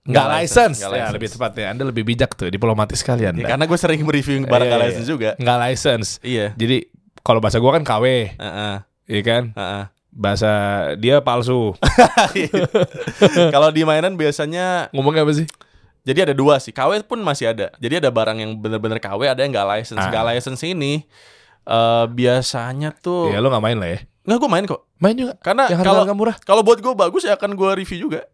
Speaker 2: Nggak license.
Speaker 1: nggak
Speaker 2: Ya,
Speaker 1: license.
Speaker 2: lebih tepatnya. Anda lebih bijak tuh, diplomatis
Speaker 1: Ya,
Speaker 2: kalian.
Speaker 1: karena gue sering mereview barang
Speaker 2: Iya,
Speaker 1: nggak
Speaker 2: iya.
Speaker 1: license juga
Speaker 2: Nggak license.
Speaker 1: iya
Speaker 2: Jadi kalau bahasa gua kan KW,
Speaker 1: Heeh,
Speaker 2: iya kan?
Speaker 1: heeh. (laughs)
Speaker 2: Bahasa dia palsu.
Speaker 1: kalau di mainan biasanya
Speaker 2: Ngomongnya apa sih?
Speaker 1: jadi ada dua sih KW pun masih ada jadi ada barang yang bener-bener KW ada yang nggak license
Speaker 2: Ah.
Speaker 1: nggak license ini eh, biasanya tuh
Speaker 2: Ya lu Ya, nggak main lah ya.
Speaker 1: nggak gue main kok
Speaker 2: Main juga.
Speaker 1: karena
Speaker 2: Yang
Speaker 1: kalau
Speaker 2: harga-harga murah.
Speaker 1: kalau buat gue bagus ya akan gue review juga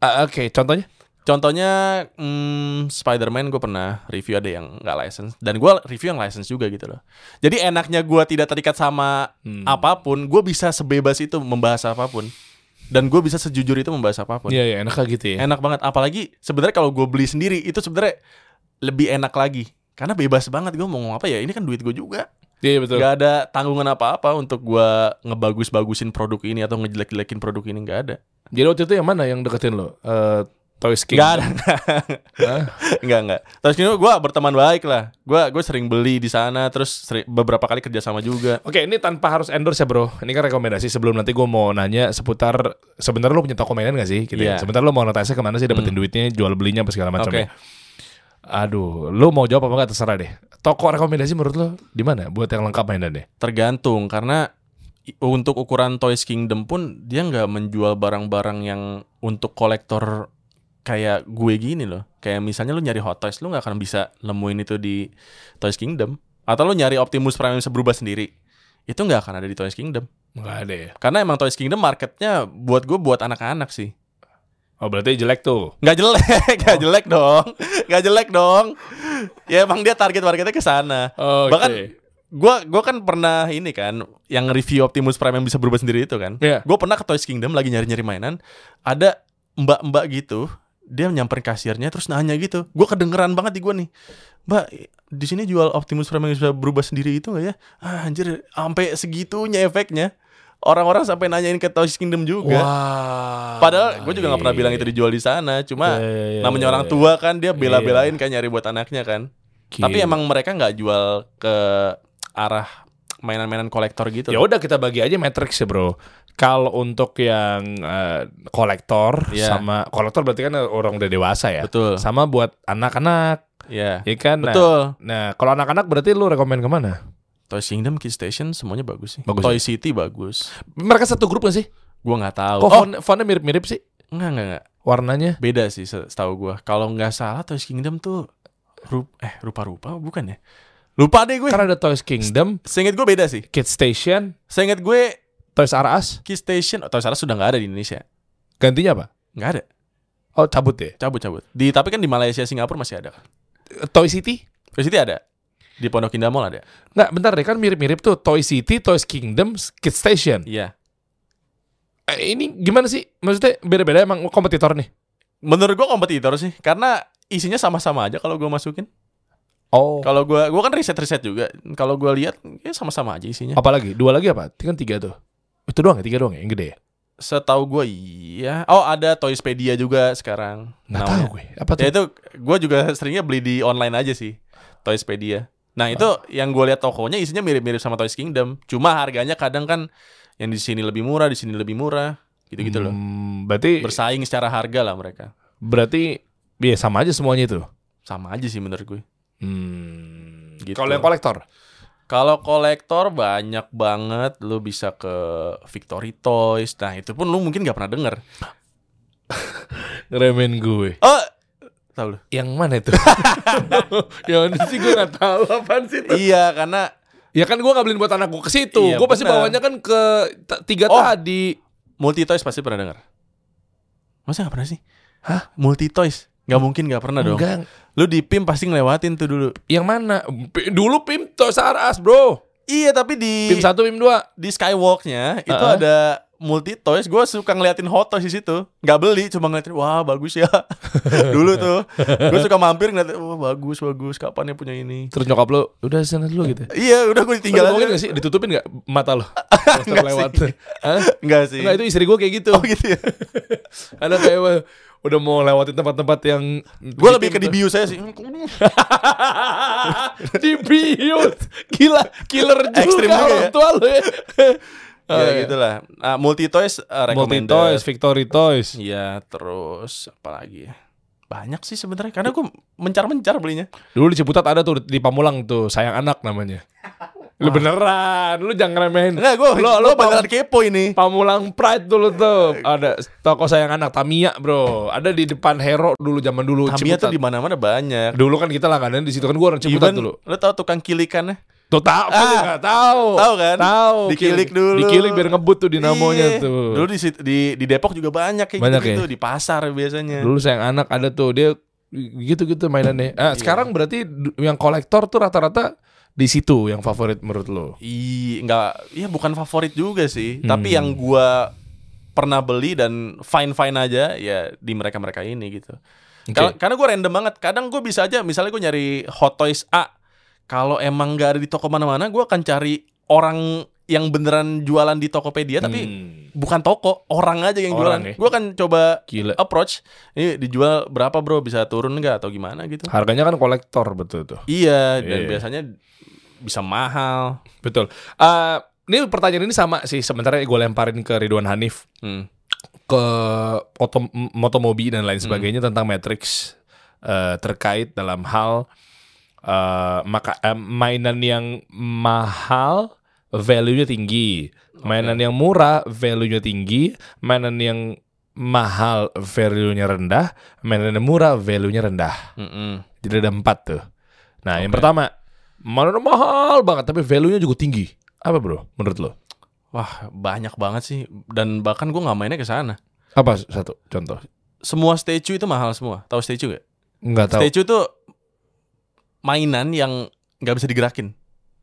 Speaker 2: Ah, Oke, contohnya?
Speaker 1: Contohnya hmm, Spider-Man gue pernah review ada yang nggak license dan gue review yang license juga gitu loh. Jadi enaknya gue tidak terikat sama
Speaker 2: Hmm.
Speaker 1: apapun, gue bisa sebebas itu membahas apapun dan gue bisa sejujur itu membahas apapun.
Speaker 2: Iya, iya, enak lah gitu ya.
Speaker 1: Enak banget. Apalagi sebenarnya kalau gue beli sendiri itu sebenarnya lebih enak lagi karena bebas banget gue mau ngomong apa ya. Ini kan duit gue juga,
Speaker 2: Iya, iya, betul.
Speaker 1: nggak ada tanggungan apa-apa untuk gue ngebagus-bagusin produk ini atau ngejelek-jelekin produk ini nggak ada.
Speaker 2: Jadi waktu itu yang mana yang deketin lo? Eh Toys King.
Speaker 1: Nggak ada. (laughs) Enggak enggak. Terus gini gue berteman baik lah. Gue gue sering beli di sana. Terus seri- beberapa kali kerja sama juga.
Speaker 2: Oke, ini tanpa harus endorse ya bro. Ini kan rekomendasi sebelum nanti gue mau nanya seputar sebentar lo punya toko mainan gak sih? Gitu
Speaker 1: Iya.
Speaker 2: ya. Sebentar lo mau monetize kemana sih dapetin duitnya, jual belinya apa segala macam
Speaker 1: Oke.
Speaker 2: ya. Aduh, lo mau jawab apa enggak terserah deh. Toko rekomendasi menurut lo di mana buat yang lengkap mainannya?
Speaker 1: Tergantung karena i- untuk ukuran Toys Kingdom pun dia nggak menjual barang-barang yang untuk kolektor kayak gue gini loh. Kayak misalnya lu nyari Hot Toys lu nggak akan bisa nemuin itu di Toys Kingdom. Atau lu nyari Optimus Prime yang bisa berubah sendiri. Itu nggak akan ada di Toys Kingdom.
Speaker 2: Enggak ada ya.
Speaker 1: Karena emang Toys Kingdom marketnya buat gue buat anak-anak sih.
Speaker 2: Oh, berarti jelek tuh.
Speaker 1: Gak jelek, (laughs) gak jelek dong, gak jelek dong. Ya emang dia target marketnya ke sana.
Speaker 2: Oh,
Speaker 1: Bahkan gua gua kan pernah ini kan yang review Optimus Prime yang bisa berubah sendiri itu kan.
Speaker 2: Iya.
Speaker 1: Gua pernah ke Toys Kingdom lagi nyari-nyari mainan, ada mbak-mbak gitu, dia nyamperin kasirnya terus nanya gitu. Gua kedengeran banget di gua nih. Mbak, di sini jual Optimus Prime yang bisa berubah sendiri itu gak ya? Ah, anjir, sampai segitunya efeknya. Orang-orang sampai nanyain ke Toys Kingdom juga.
Speaker 2: Wah.
Speaker 1: Padahal gue juga nggak pernah bilang itu dijual di sana, cuma
Speaker 2: Iya, iya, iya,
Speaker 1: namanya
Speaker 2: iya,
Speaker 1: orang
Speaker 2: iya.
Speaker 1: tua kan dia bela-belain kan nyari buat anaknya kan. Tapi emang mereka nggak jual ke arah mainan-mainan kolektor gitu.
Speaker 2: Ya udah kita bagi aja matrix ya bro. Kalau untuk yang eh, kolektor
Speaker 1: Iya.
Speaker 2: sama kolektor berarti kan orang udah dewasa ya.
Speaker 1: Betul.
Speaker 2: Sama buat anak-anak,
Speaker 1: Iya.
Speaker 2: ya kan. Nah,
Speaker 1: Betul.
Speaker 2: Nah, kalau anak-anak berarti lu rekomend kemana?
Speaker 1: Toy Kingdom, Kid Station semuanya bagus sih.
Speaker 2: Bagus ya?
Speaker 1: Toy City bagus.
Speaker 2: Mereka satu grup gak sih?
Speaker 1: Gua nggak tahu.
Speaker 2: Kok
Speaker 1: Oh,
Speaker 2: font- fontnya mirip-mirip sih?
Speaker 1: enggak enggak enggak.
Speaker 2: Warnanya?
Speaker 1: Beda sih se- setahu gua. Kalau nggak salah Toy Kingdom tuh rup eh rupa-rupa bukan ya? Lupa deh gue.
Speaker 2: Karena Kan ada Toys Kingdom,
Speaker 1: Seingat gue beda sih.
Speaker 2: Kids Station,
Speaker 1: Seingat gue
Speaker 2: Toys R Us.
Speaker 1: Kid Station atau salah sudah nggak ada di Indonesia.
Speaker 2: Gantinya apa?
Speaker 1: Nggak ada.
Speaker 2: Oh cabut deh.
Speaker 1: Cabut-cabut. Di tapi kan di Malaysia, Singapura masih ada.
Speaker 2: Toy City?
Speaker 1: Toy City ada. Di Pondok Indah Mall ada.
Speaker 2: Nggak, bentar deh kan mirip-mirip tuh Toy City, Toys Kingdom, Kids Station.
Speaker 1: Iya.
Speaker 2: Eh, ini gimana sih? Maksudnya beda-beda emang kompetitor nih?
Speaker 1: Menurut gua kompetitor sih, karena isinya sama-sama aja kalau gua masukin.
Speaker 2: Oh.
Speaker 1: Kalau gua gua kan riset-riset juga. Kalau gua lihat ya sama-sama aja isinya.
Speaker 2: Apalagi dua lagi apa? Kan tiga tuh. Itu doang ya, tiga doang ya yang gede ya?
Speaker 1: Setahu gua iya. Oh, ada Toyspedia juga sekarang.
Speaker 2: Nggak
Speaker 1: namanya.
Speaker 2: tahu gue. Apa tuh?
Speaker 1: Ya itu gua juga seringnya beli di online aja sih. Toyspedia. Nah, itu
Speaker 2: Ah.
Speaker 1: yang gua lihat tokonya isinya mirip-mirip sama Toys Kingdom. Cuma harganya kadang kan yang di sini lebih murah, di sini lebih murah, gitu-gitu gitu loh.
Speaker 2: Hmm, berarti
Speaker 1: Bersaing secara harga lah mereka.
Speaker 2: berarti ya sama aja semuanya itu.
Speaker 1: Sama aja sih menurut gue.
Speaker 2: Hmm.
Speaker 1: Gitu.
Speaker 2: Kalau yang kolektor,
Speaker 1: Kalau kolektor banyak banget lu bisa ke Victory Toys. Nah, itu pun lu mungkin gak pernah denger.
Speaker 2: ngeremen gue.
Speaker 1: Oh, tahu lu.
Speaker 2: Yang mana itu? yang mana sih gue gak tahu apaan sih itu.
Speaker 1: (laughs) Iya, karena
Speaker 2: Ya kan gue gak beliin buat anak gue ke situ.
Speaker 1: Iya,
Speaker 2: gue pasti
Speaker 1: benar.
Speaker 2: bawanya kan ke t- tiga
Speaker 1: Oh.
Speaker 2: tadi.
Speaker 1: Multi Toys pasti pernah denger. Masa gak pernah sih? Hah? Hmm. Multi Toys? Gak mungkin gak pernah dong.
Speaker 2: Enggak.
Speaker 1: Lu di PIM pasti ngelewatin tuh dulu.
Speaker 2: Yang mana? P- dulu Pim Toys R Us, bro.
Speaker 1: Iya, tapi di
Speaker 2: Pim 1, Pim 2.
Speaker 1: di Skywalk-nya itu
Speaker 2: Uh-uh.
Speaker 1: ada multi toys gue suka ngeliatin hot toys di situ nggak beli cuma ngeliatin wah bagus (laughs) ya dulu tuh gue suka mampir ngeliatin wah bagus bagus kapan ya punya ini
Speaker 2: Terus nyokap lu udah sana dulu gitu.
Speaker 1: iya udah gue
Speaker 2: Tinggal
Speaker 1: ditinggal aja
Speaker 2: mungkin gak sih ditutupin gak mata
Speaker 1: (laughs)
Speaker 2: lo?
Speaker 1: Nggak
Speaker 2: lewat.
Speaker 1: sih.
Speaker 2: Hah?
Speaker 1: enggak sih
Speaker 2: Enggak itu istri gue kayak gitu.
Speaker 1: (laughs) oh gitu ya
Speaker 2: Ada kayak wah, udah mau lewatin tempat-tempat yang
Speaker 1: gue lebih ke
Speaker 2: (laughs)
Speaker 1: dibius saya sih Hmm,
Speaker 2: dibius. Gila, killer juga,
Speaker 1: Ekstrim juga
Speaker 2: orang
Speaker 1: ya.
Speaker 2: tua lu ya.
Speaker 1: ya
Speaker 2: iya.
Speaker 1: gitulah Ah, multi toys ah,
Speaker 2: Multi
Speaker 1: recommended
Speaker 2: toys, Victory toys.
Speaker 1: Iya, terus apa lagi ya? Banyak sih sebenarnya karena gue mencar-mencar belinya.
Speaker 2: Dulu di Ciputat ada tuh di Pamulang tuh sayang anak namanya. Lu beneran, lu jangan remehin.
Speaker 1: Enggak, gue
Speaker 2: Lu- lu
Speaker 1: beneran kepo ini.
Speaker 2: Pamulang Pride dulu tuh ada toko sayang anak Tamiya bro ada di depan Hero dulu zaman dulu
Speaker 1: Tamiya tuh
Speaker 2: Ciputat.
Speaker 1: di mana-mana banyak.
Speaker 2: dulu kan kita langganan di situ kan gua orang Ciputat
Speaker 1: Even
Speaker 2: dulu
Speaker 1: lu tau tukang kilikannya?
Speaker 2: tuh tahu
Speaker 1: Ah.
Speaker 2: ah, nggak tahu
Speaker 1: Tahu kan?
Speaker 2: tahu
Speaker 1: Dikilik dulu.
Speaker 2: dikilik biar ngebut tuh dinamonya
Speaker 1: Iya.
Speaker 2: tuh
Speaker 1: Dulu di, situ- di di Depok juga banyak kayak
Speaker 2: Banyak ya?
Speaker 1: gitu, di pasar biasanya.
Speaker 2: dulu sayang anak ada tuh dia gitu-gitu mainannya ah,
Speaker 1: Iya.
Speaker 2: sekarang berarti du- yang kolektor tuh rata-rata di situ yang favorit menurut lo
Speaker 1: Ih, enggak, ya bukan favorit juga sih,
Speaker 2: Hmm.
Speaker 1: tapi yang gua pernah beli dan fine fine aja ya di mereka mereka ini gitu.
Speaker 2: Oke.
Speaker 1: Kar- Karena gue random banget. Kadang gue bisa aja, misalnya gue nyari Hot Toys A. Kalau emang nggak ada di toko mana-mana, gue akan cari orang yang beneran jualan di Tokopedia, tapi
Speaker 2: Hmm.
Speaker 1: bukan toko, orang aja yang
Speaker 2: Orang ya?
Speaker 1: jualan. Gue akan coba
Speaker 2: gila
Speaker 1: approach. Ini dijual berapa bro? Bisa turun nggak atau gimana gitu?
Speaker 2: harganya kan kolektor betul tuh
Speaker 1: Iya, dan
Speaker 2: Iya.
Speaker 1: biasanya bisa mahal.
Speaker 2: betul Eh, ini pertanyaan ini sama sih sementara gue lemparin ke Ridwan Hanif
Speaker 1: Hmm.
Speaker 2: ke otom- m- motomobi dan lain sebagainya tentang Matrix eh, terkait dalam hal eh, maka eh, mainan yang mahal value-nya tinggi, mainan yang murah value-nya tinggi, mainan yang mahal value-nya rendah, mainan yang murah value-nya rendah.
Speaker 1: Mm-mm.
Speaker 2: Jadi ada empat tuh. Nah, yang
Speaker 1: Oke.
Speaker 2: pertama mainan mahal banget tapi value-nya juga tinggi. Apa bro? Menurut lo?
Speaker 1: Wah, banyak banget sih. Dan bahkan gue nggak mainnya ke sana.
Speaker 2: Apa satu contoh?
Speaker 1: Semua statue itu mahal semua. Tahu statue gak?
Speaker 2: Enggak tahu.
Speaker 1: Statue tuh mainan yang nggak bisa digerakin.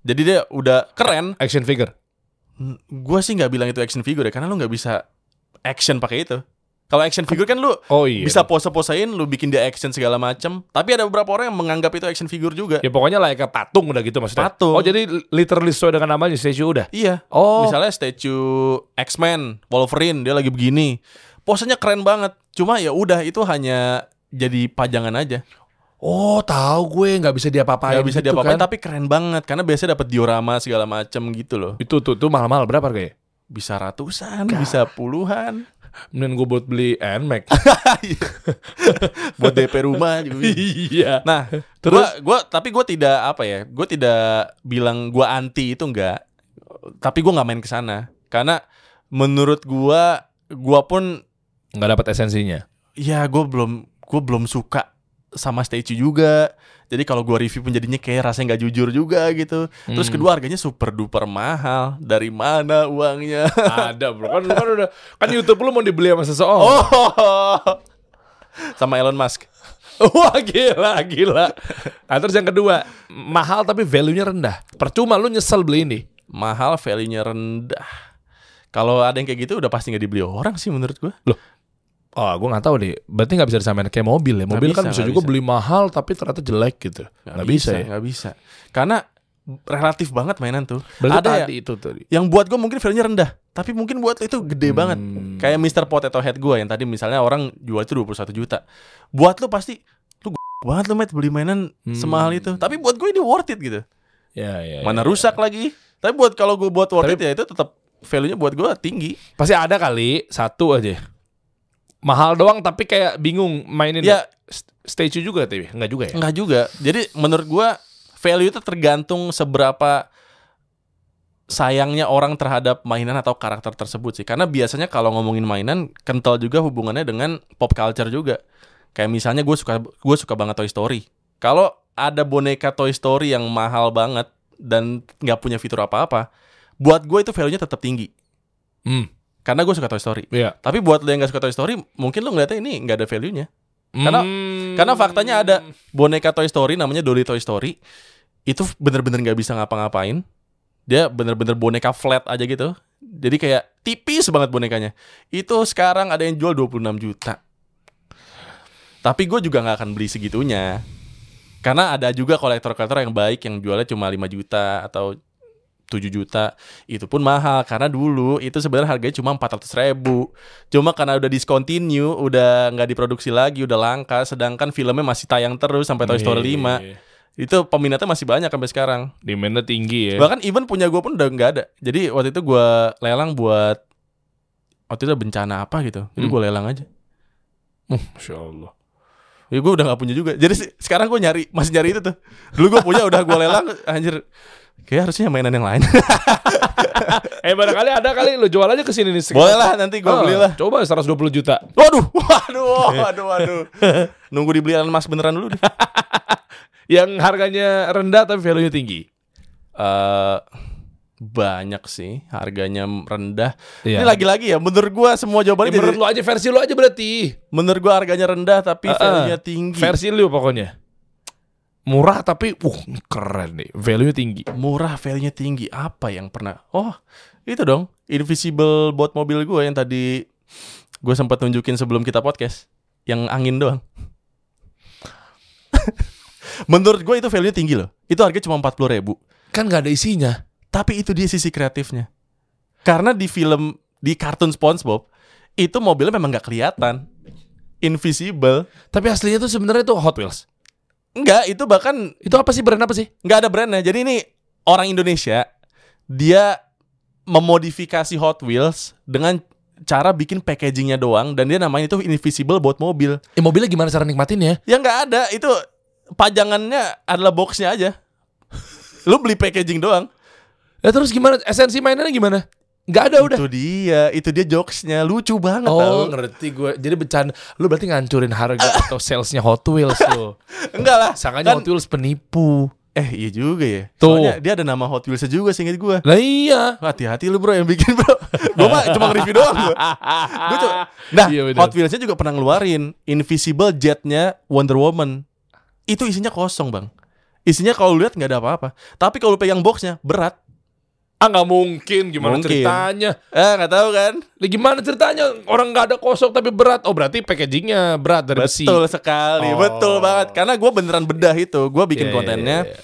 Speaker 1: Jadi dia udah keren.
Speaker 2: Action figure.
Speaker 1: N- Gua sih nggak bilang itu action figure ya, karena lu nggak bisa action pakai itu. Kalau action figure kan lu
Speaker 2: Oh iya.
Speaker 1: bisa pose-posein, lu bikin dia action segala macem. Tapi ada beberapa orang yang menganggap itu action figure juga.
Speaker 2: Ya pokoknya layaknya patung udah gitu maksudnya.
Speaker 1: Patung.
Speaker 2: Oh jadi literally sesuai dengan namanya statue udah.
Speaker 1: Iya.
Speaker 2: Oh.
Speaker 1: Misalnya statue X-Men, Wolverine, dia lagi begini. Posenya keren banget. Cuma ya udah itu hanya jadi pajangan aja.
Speaker 2: Oh tahu gue nggak bisa diapa-apain.
Speaker 1: Gak bisa
Speaker 2: gitu
Speaker 1: diapa-apain
Speaker 2: kan.
Speaker 1: tapi keren banget karena biasanya dapat diorama segala macem gitu loh.
Speaker 2: Itu tuh tuh mahal-mahal berapa harganya?
Speaker 1: bisa ratusan, bisa puluhan.
Speaker 2: Mending gue buat beli NMAX.
Speaker 1: Buat DP rumah (laughs) juga. bisa.
Speaker 2: (laughs) iya.
Speaker 1: Nah,
Speaker 2: Terus?
Speaker 1: terus gua, gua- tapi gua tidak apa ya? Gua tidak bilang gua anti itu enggak. Tapi gua nggak main ke sana karena menurut gua gua pun
Speaker 2: Nggak dapat esensinya.
Speaker 1: ya gua belum gua belum suka sama statue juga. Jadi kalau gua review pun jadinya kayak rasanya nggak jujur juga gitu. Terus kedua harganya super duper mahal. Dari mana uangnya?
Speaker 2: Ada bro kan lu kan udah kan YouTube lu mau dibeli sama seseorang.
Speaker 1: (laughs) Oh. sama Elon Musk.
Speaker 2: (laughs) Wah gila gila. Nah, terus yang kedua mahal tapi value-nya rendah. Percuma lu nyesel beli ini.
Speaker 1: mahal, value-nya rendah. Kalau ada yang kayak gitu udah pasti nggak dibeli orang sih menurut gua.
Speaker 2: Oh, gue nggak tahu deh. Berarti nggak bisa disamain kayak mobil ya.
Speaker 1: Nggak
Speaker 2: Mobil kan
Speaker 1: bisa,
Speaker 2: bisa
Speaker 1: nggak
Speaker 2: juga
Speaker 1: bisa.
Speaker 2: beli mahal tapi ternyata jelek gitu. Nggak bisa, ya.
Speaker 1: nggak bisa. Karena relatif banget mainan tuh.
Speaker 2: Berarti
Speaker 1: ada
Speaker 2: tadi
Speaker 1: ya,
Speaker 2: itu tadi.
Speaker 1: yang buat gua mungkin value-nya rendah, tapi mungkin buat lu itu gede
Speaker 2: Hmm.
Speaker 1: banget. Kayak Mr. Potato Head gua yang tadi misalnya orang jual itu 21 juta. Buat lu pasti lu g- banget lu met beli mainan
Speaker 2: Hmm.
Speaker 1: semahal itu. Tapi buat gue ini worth it gitu.
Speaker 2: Ya, ya,
Speaker 1: Mana
Speaker 2: ya.
Speaker 1: rusak lagi. Tapi buat kalau gue buat worth
Speaker 2: Tapi-
Speaker 1: it ya itu tetap value-nya buat gua tinggi.
Speaker 2: Pasti ada kali satu aja. Mahal doang tapi kayak bingung mainin.
Speaker 1: Ya, Hmm.
Speaker 2: St- Statue juga tapi nggak juga ya.
Speaker 1: Enggak juga. Jadi menurut gua value itu tergantung seberapa sayangnya orang terhadap mainan atau karakter tersebut sih. Karena biasanya kalau ngomongin mainan kental juga hubungannya dengan pop culture juga. Kayak misalnya gue suka gue suka banget Toy Story. Kalau ada boneka Toy Story yang mahal banget dan nggak punya fitur apa-apa, buat gue itu value-nya tetap tinggi.
Speaker 2: Hmm.
Speaker 1: Karena gue suka Toy Story.
Speaker 2: Iya.
Speaker 1: Tapi buat lo yang nggak suka Toy Story, mungkin lo ngeliatnya ini nggak ada value-nya. Karena-
Speaker 2: Hmm.
Speaker 1: Karena faktanya ada boneka Toy Story namanya Dolly Toy Story itu bener-bener nggak bisa ngapa-ngapain. Dia bener-bener boneka flat aja gitu. Jadi kayak tipis banget bonekanya. Itu sekarang ada yang jual 26 juta. Tapi gue juga nggak akan beli segitunya. Karena ada juga kolektor-kolektor yang baik yang jualnya cuma 5 juta atau 7 juta itu pun mahal karena dulu itu sebenarnya harganya cuma 400 ribu cuma karena udah discontinue udah nggak diproduksi lagi udah langka sedangkan filmnya masih tayang terus sampai
Speaker 2: Iya,
Speaker 1: Toy Story 5 itu peminatnya masih banyak sampai sekarang
Speaker 2: Demandnya tinggi ya.
Speaker 1: bahkan even punya gue pun udah nggak ada jadi waktu itu gue lelang buat waktu itu bencana apa gitu jadi
Speaker 2: Hmm.
Speaker 1: gue lelang aja
Speaker 2: Masya Allah.
Speaker 1: jadi gue udah nggak punya juga jadi se- sekarang gue nyari masih nyari itu tuh dulu gue punya udah gue lelang anjir kayak harusnya mainan yang
Speaker 2: (laughs)
Speaker 1: lain
Speaker 2: Eh barangkali ada kali lu jual aja ke sini nih.
Speaker 1: boleh lah nanti gue
Speaker 2: Ah,
Speaker 1: belilah
Speaker 2: Coba 120 juta.
Speaker 1: Waduh, (laughs) waduh, waduh, waduh. Nunggu dibeli Elon Musk beneran dulu
Speaker 2: (laughs)
Speaker 1: deh.
Speaker 2: Yang harganya rendah tapi value-nya tinggi.
Speaker 1: Eh, banyak sih harganya rendah.
Speaker 2: Iya.
Speaker 1: Ini lagi-lagi ya, menurut gua semua
Speaker 2: Eh,
Speaker 1: jawabannya
Speaker 2: menurut
Speaker 1: jadi-
Speaker 2: lu aja versi lu aja berarti.
Speaker 1: menurut gua harganya rendah tapi
Speaker 2: Ah, ah.
Speaker 1: value-nya tinggi.
Speaker 2: Versi lu pokoknya. Murah tapi uh keren nih. Value-nya tinggi.
Speaker 1: Murah, value-nya tinggi. Apa yang pernah? Oh, itu dong. Invisible buat mobil gua yang tadi gua sempat tunjukin sebelum kita podcast. Yang angin doang. (laughs) menurut gua itu value-nya tinggi loh. Itu harga cuma 40 ribu.
Speaker 2: Kan gak ada isinya.
Speaker 1: Tapi itu dia sisi kreatifnya. Karena di film di kartun SpongeBob itu mobilnya memang nggak kelihatan, invisible.
Speaker 2: Tapi aslinya tuh sebenarnya tuh Hot Wheels.
Speaker 1: Enggak, itu bahkan
Speaker 2: Itu apa sih brand apa sih?
Speaker 1: nggak ada brandnya. Jadi ini orang Indonesia dia memodifikasi Hot Wheels dengan cara bikin packagingnya doang dan dia namanya itu invisible buat mobil.
Speaker 2: Eh, mobilnya gimana cara nikmatin ya?
Speaker 1: Yang nggak ada itu pajangannya adalah boxnya aja. Lu beli packaging doang.
Speaker 2: Ya terus gimana? Esensi mainannya gimana? Gak ada udah.
Speaker 1: Itu dia, itu dia jokesnya lucu banget tau.
Speaker 2: Oh ngerti gue. Jadi bercanda. Lu berarti ngancurin (laughs) harga atau salesnya Hot Wheels lu.
Speaker 1: Enggak lah.
Speaker 2: Sangkanya
Speaker 1: kan-
Speaker 2: Hot Wheels penipu.
Speaker 1: Eh iya juga ya.
Speaker 2: Tuh.
Speaker 1: Soalnya dia ada nama Hot Wheels juga seinget gue.
Speaker 2: Lah iya.
Speaker 1: Hati-hati lu bro yang bikin bro. gue mah cuma review doang gue. Gua cuma- Nah
Speaker 2: Iya, bener.
Speaker 1: Hot Wheelsnya juga pernah ngeluarin Invisible Jetnya Wonder Woman. Itu isinya kosong bang. Isinya kalau lu lihat nggak ada apa-apa. Tapi kalau lu pegang boxnya berat.
Speaker 2: Ah nggak mungkin. Gimana
Speaker 1: Mungkin.
Speaker 2: ceritanya?
Speaker 1: Eh nggak tahu kan?
Speaker 2: Lah gimana ceritanya? Orang nggak ada kosong tapi berat. Oh berarti packagingnya berat dari besi.
Speaker 1: Betul sekali,
Speaker 2: Oh.
Speaker 1: betul banget. Karena gue beneran bedah itu. Gue bikin
Speaker 2: Iya, iya,
Speaker 1: kontennya.
Speaker 2: iya,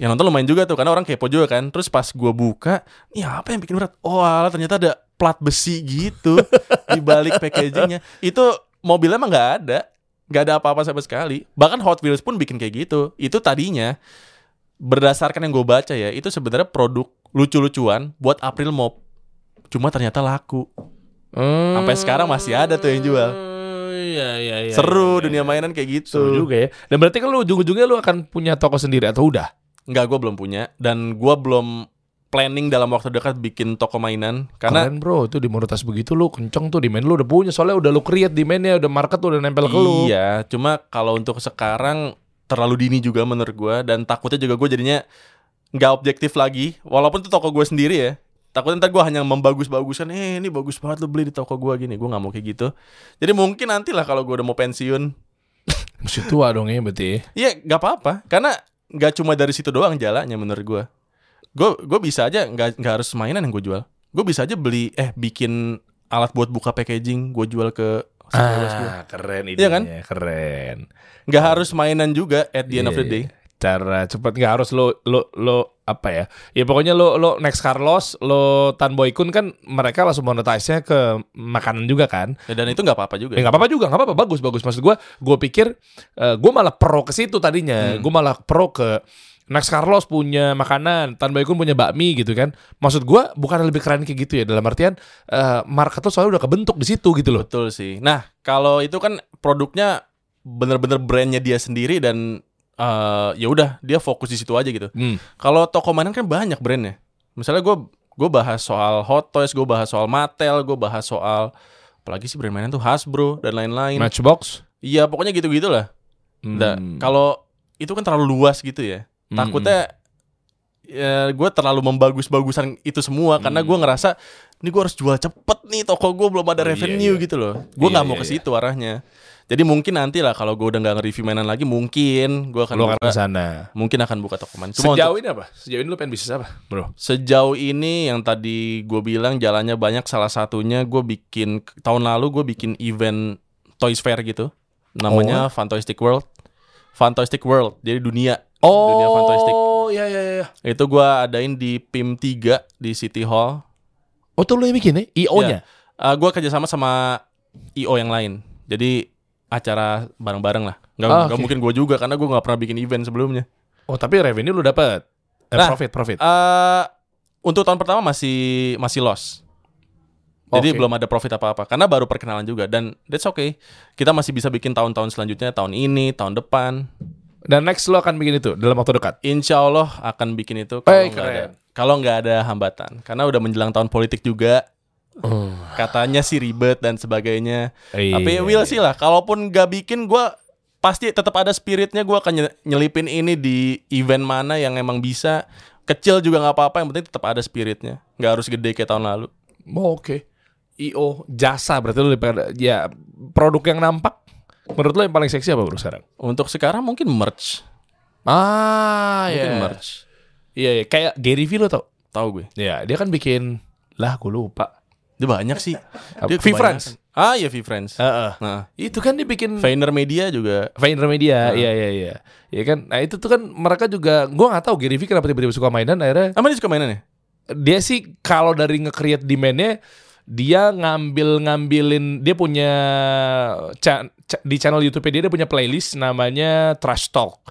Speaker 1: Yang nonton lumayan juga tuh karena orang kepo juga kan. Terus pas gue buka, ini apa yang bikin berat? Oh, alah, ternyata ada plat besi
Speaker 2: (laughs)
Speaker 1: gitu di balik packagingnya. Itu mobilnya emang nggak ada, nggak ada apa-apa sama sekali. Bahkan Hot Wheels pun bikin kayak gitu. Itu tadinya berdasarkan yang gue baca ya, itu sebenarnya produk lucu-lucuan buat April Mop. Cuma ternyata laku.
Speaker 2: Hmm.
Speaker 1: Sampai sekarang masih ada tuh yang jual.
Speaker 2: Iya iya iya.
Speaker 1: Seru
Speaker 2: iya,
Speaker 1: dunia
Speaker 2: iya.
Speaker 1: mainan kayak gitu.
Speaker 2: Seru juga ya. Dan berarti kan lu ujung-ujungnya lu akan punya toko sendiri atau udah?
Speaker 1: Enggak, gue belum punya dan gue belum planning dalam waktu dekat bikin toko mainan karena
Speaker 2: Keren bro, itu di monetas begitu lu kenceng tuh demand lu udah punya soalnya udah lu create demandnya, udah market udah nempel ke lu.
Speaker 1: Iya, cuma kalau untuk sekarang terlalu dini juga menurut gua dan takutnya juga gue jadinya nggak objektif lagi. Walaupun itu toko gue sendiri ya. Takutnya ntar gue hanya membagus-baguskan, eh ini bagus banget lu beli di toko gua gini. Gue nggak mau kayak gitu. Jadi mungkin nanti lah kalau gue udah mau pensiun.
Speaker 2: Mesti tua dong ya berarti.
Speaker 1: Iya, nggak apa-apa. Karena nggak cuma dari situ doang jalannya menurut gua Gue gue bisa aja nggak nggak harus mainan yang gue jual. Gue bisa aja beli eh bikin alat buat buka packaging, gue jual ke
Speaker 2: Ah.
Speaker 1: sekolah gua.
Speaker 2: keren ya,
Speaker 1: Iya kan?
Speaker 2: keren.
Speaker 1: nggak harus mainan juga at the end of the
Speaker 2: Iya,
Speaker 1: day.
Speaker 2: iya. Cara cepet nggak harus lo lo lo apa ya? Ya pokoknya lo lo next Carlos, lo Tan Boykun kan mereka langsung monetize-nya ke makanan juga kan?
Speaker 1: Ya, dan itu nggak apa-apa juga.
Speaker 2: Ya nggak apa-apa juga, nggak apa-apa bagus bagus. Maksud gue, gue pikir eh, gue malah pro ke situ tadinya. Gue malah pro ke Next Carlos punya makanan, Tan Baikun punya bakmi gitu kan. Maksud gue bukan lebih keren kayak gitu ya dalam artian eh, market tuh soalnya udah kebentuk di situ gitu loh.
Speaker 1: Betul sih. Nah, kalau itu kan produknya bener-bener brandnya dia sendiri dan eh, ya udah dia fokus di situ aja gitu.
Speaker 2: Hmm.
Speaker 1: Kalau toko mainan kan banyak brandnya. Misalnya gue gue bahas soal Hot Toys, gue bahas soal Mattel, gue bahas soal apalagi sih brand mainan tuh Hasbro dan lain-lain.
Speaker 2: Matchbox.
Speaker 1: Iya, pokoknya gitu-gitu lah.
Speaker 2: Hmm.
Speaker 1: Nah, Kalau itu kan terlalu luas gitu ya. Takutnya ya, gue terlalu membagus-bagusan itu semua
Speaker 2: Hmm.
Speaker 1: karena gue ngerasa ini gue harus jual cepet nih toko gue belum ada
Speaker 2: Oh, iya,
Speaker 1: revenue
Speaker 2: iya.
Speaker 1: gitu loh. Gue
Speaker 2: Iya,
Speaker 1: nggak mau
Speaker 2: iya,
Speaker 1: ke
Speaker 2: iya.
Speaker 1: situ arahnya. Jadi mungkin nanti lah kalau gue udah nggak nge-review mainan lagi, mungkin gue akan
Speaker 2: Lu akan
Speaker 1: buka-
Speaker 2: ke sana.
Speaker 1: mungkin akan buka toko mainan. Cuma
Speaker 2: Sejauh ini apa? Sejauh ini lu pengen bisnis apa, bro?
Speaker 1: Sejauh ini yang tadi gue bilang jalannya banyak salah satunya gue bikin tahun lalu gue bikin event Toys Fair gitu
Speaker 2: Oh.
Speaker 1: namanya Fantastic World Fantastic World jadi dunia dunia Fantastic
Speaker 2: Oh, ya ya ya.
Speaker 1: itu gue adain di PIM 3 di City Hall
Speaker 2: Oh, tuh lu yang bikin ya? IO-nya.
Speaker 1: Eh gue kerjasama sama IO yang lain jadi acara bareng-bareng lah nggak,
Speaker 2: Ah,
Speaker 1: nggak
Speaker 2: oke.
Speaker 1: mungkin gue juga karena gue nggak pernah bikin event sebelumnya
Speaker 2: Oh, tapi revenue lu dapat. Eh,
Speaker 1: Nah.
Speaker 2: profit, profit.
Speaker 1: Eh untuk tahun pertama masih masih loss. Jadi
Speaker 2: Oke.
Speaker 1: belum ada profit apa-apa karena baru perkenalan juga dan that's okay. Kita masih bisa bikin tahun-tahun selanjutnya, tahun ini, tahun depan.
Speaker 2: Dan next lu akan bikin itu dalam waktu dekat.
Speaker 1: Insya Allah akan bikin itu
Speaker 2: Eh,
Speaker 1: kalau nggak
Speaker 2: keren.
Speaker 1: ada kalau nggak ada hambatan karena udah menjelang tahun politik juga
Speaker 2: Oh.
Speaker 1: katanya sih ribet dan sebagainya.
Speaker 2: Iya.
Speaker 1: Tapi will sih lah. Kalaupun nggak bikin gue pasti tetap ada spiritnya gue akan nye- nyelipin ini di event mana yang emang bisa kecil juga nggak apa-apa yang penting tetap ada spiritnya nggak harus gede kayak tahun lalu
Speaker 2: Oh, oke. IO jasa berarti lu lebih pada- ya produk yang nampak. Menurut lu yang paling seksi apa bro sekarang?
Speaker 1: untuk sekarang mungkin merch
Speaker 2: Ah,
Speaker 1: mungkin
Speaker 2: ya.
Speaker 1: merch
Speaker 2: Iya, iya. kayak Gary Vee lo tau?
Speaker 1: tahu gue
Speaker 2: Iya, dia kan bikin lah gue lupa.
Speaker 1: dia banyak sih dia kebanyakan.
Speaker 2: Free France.
Speaker 1: ah iya V friends
Speaker 2: Heeh.
Speaker 1: nah
Speaker 2: Itu kan dia bikin
Speaker 1: Vayner Media juga
Speaker 2: Vaynermedia, iya iya iya. Iya kan? Nah, itu tuh kan mereka juga gua nggak tahu Gary Vee kenapa tiba-tiba suka mainan akhirnya
Speaker 1: apa dia suka mainan ya
Speaker 2: dia sih kalau dari nge-create demand-nya dia ngambil-ngambilin dia punya cha- cha- di channel YouTube dia, dia punya playlist namanya Trash Talk.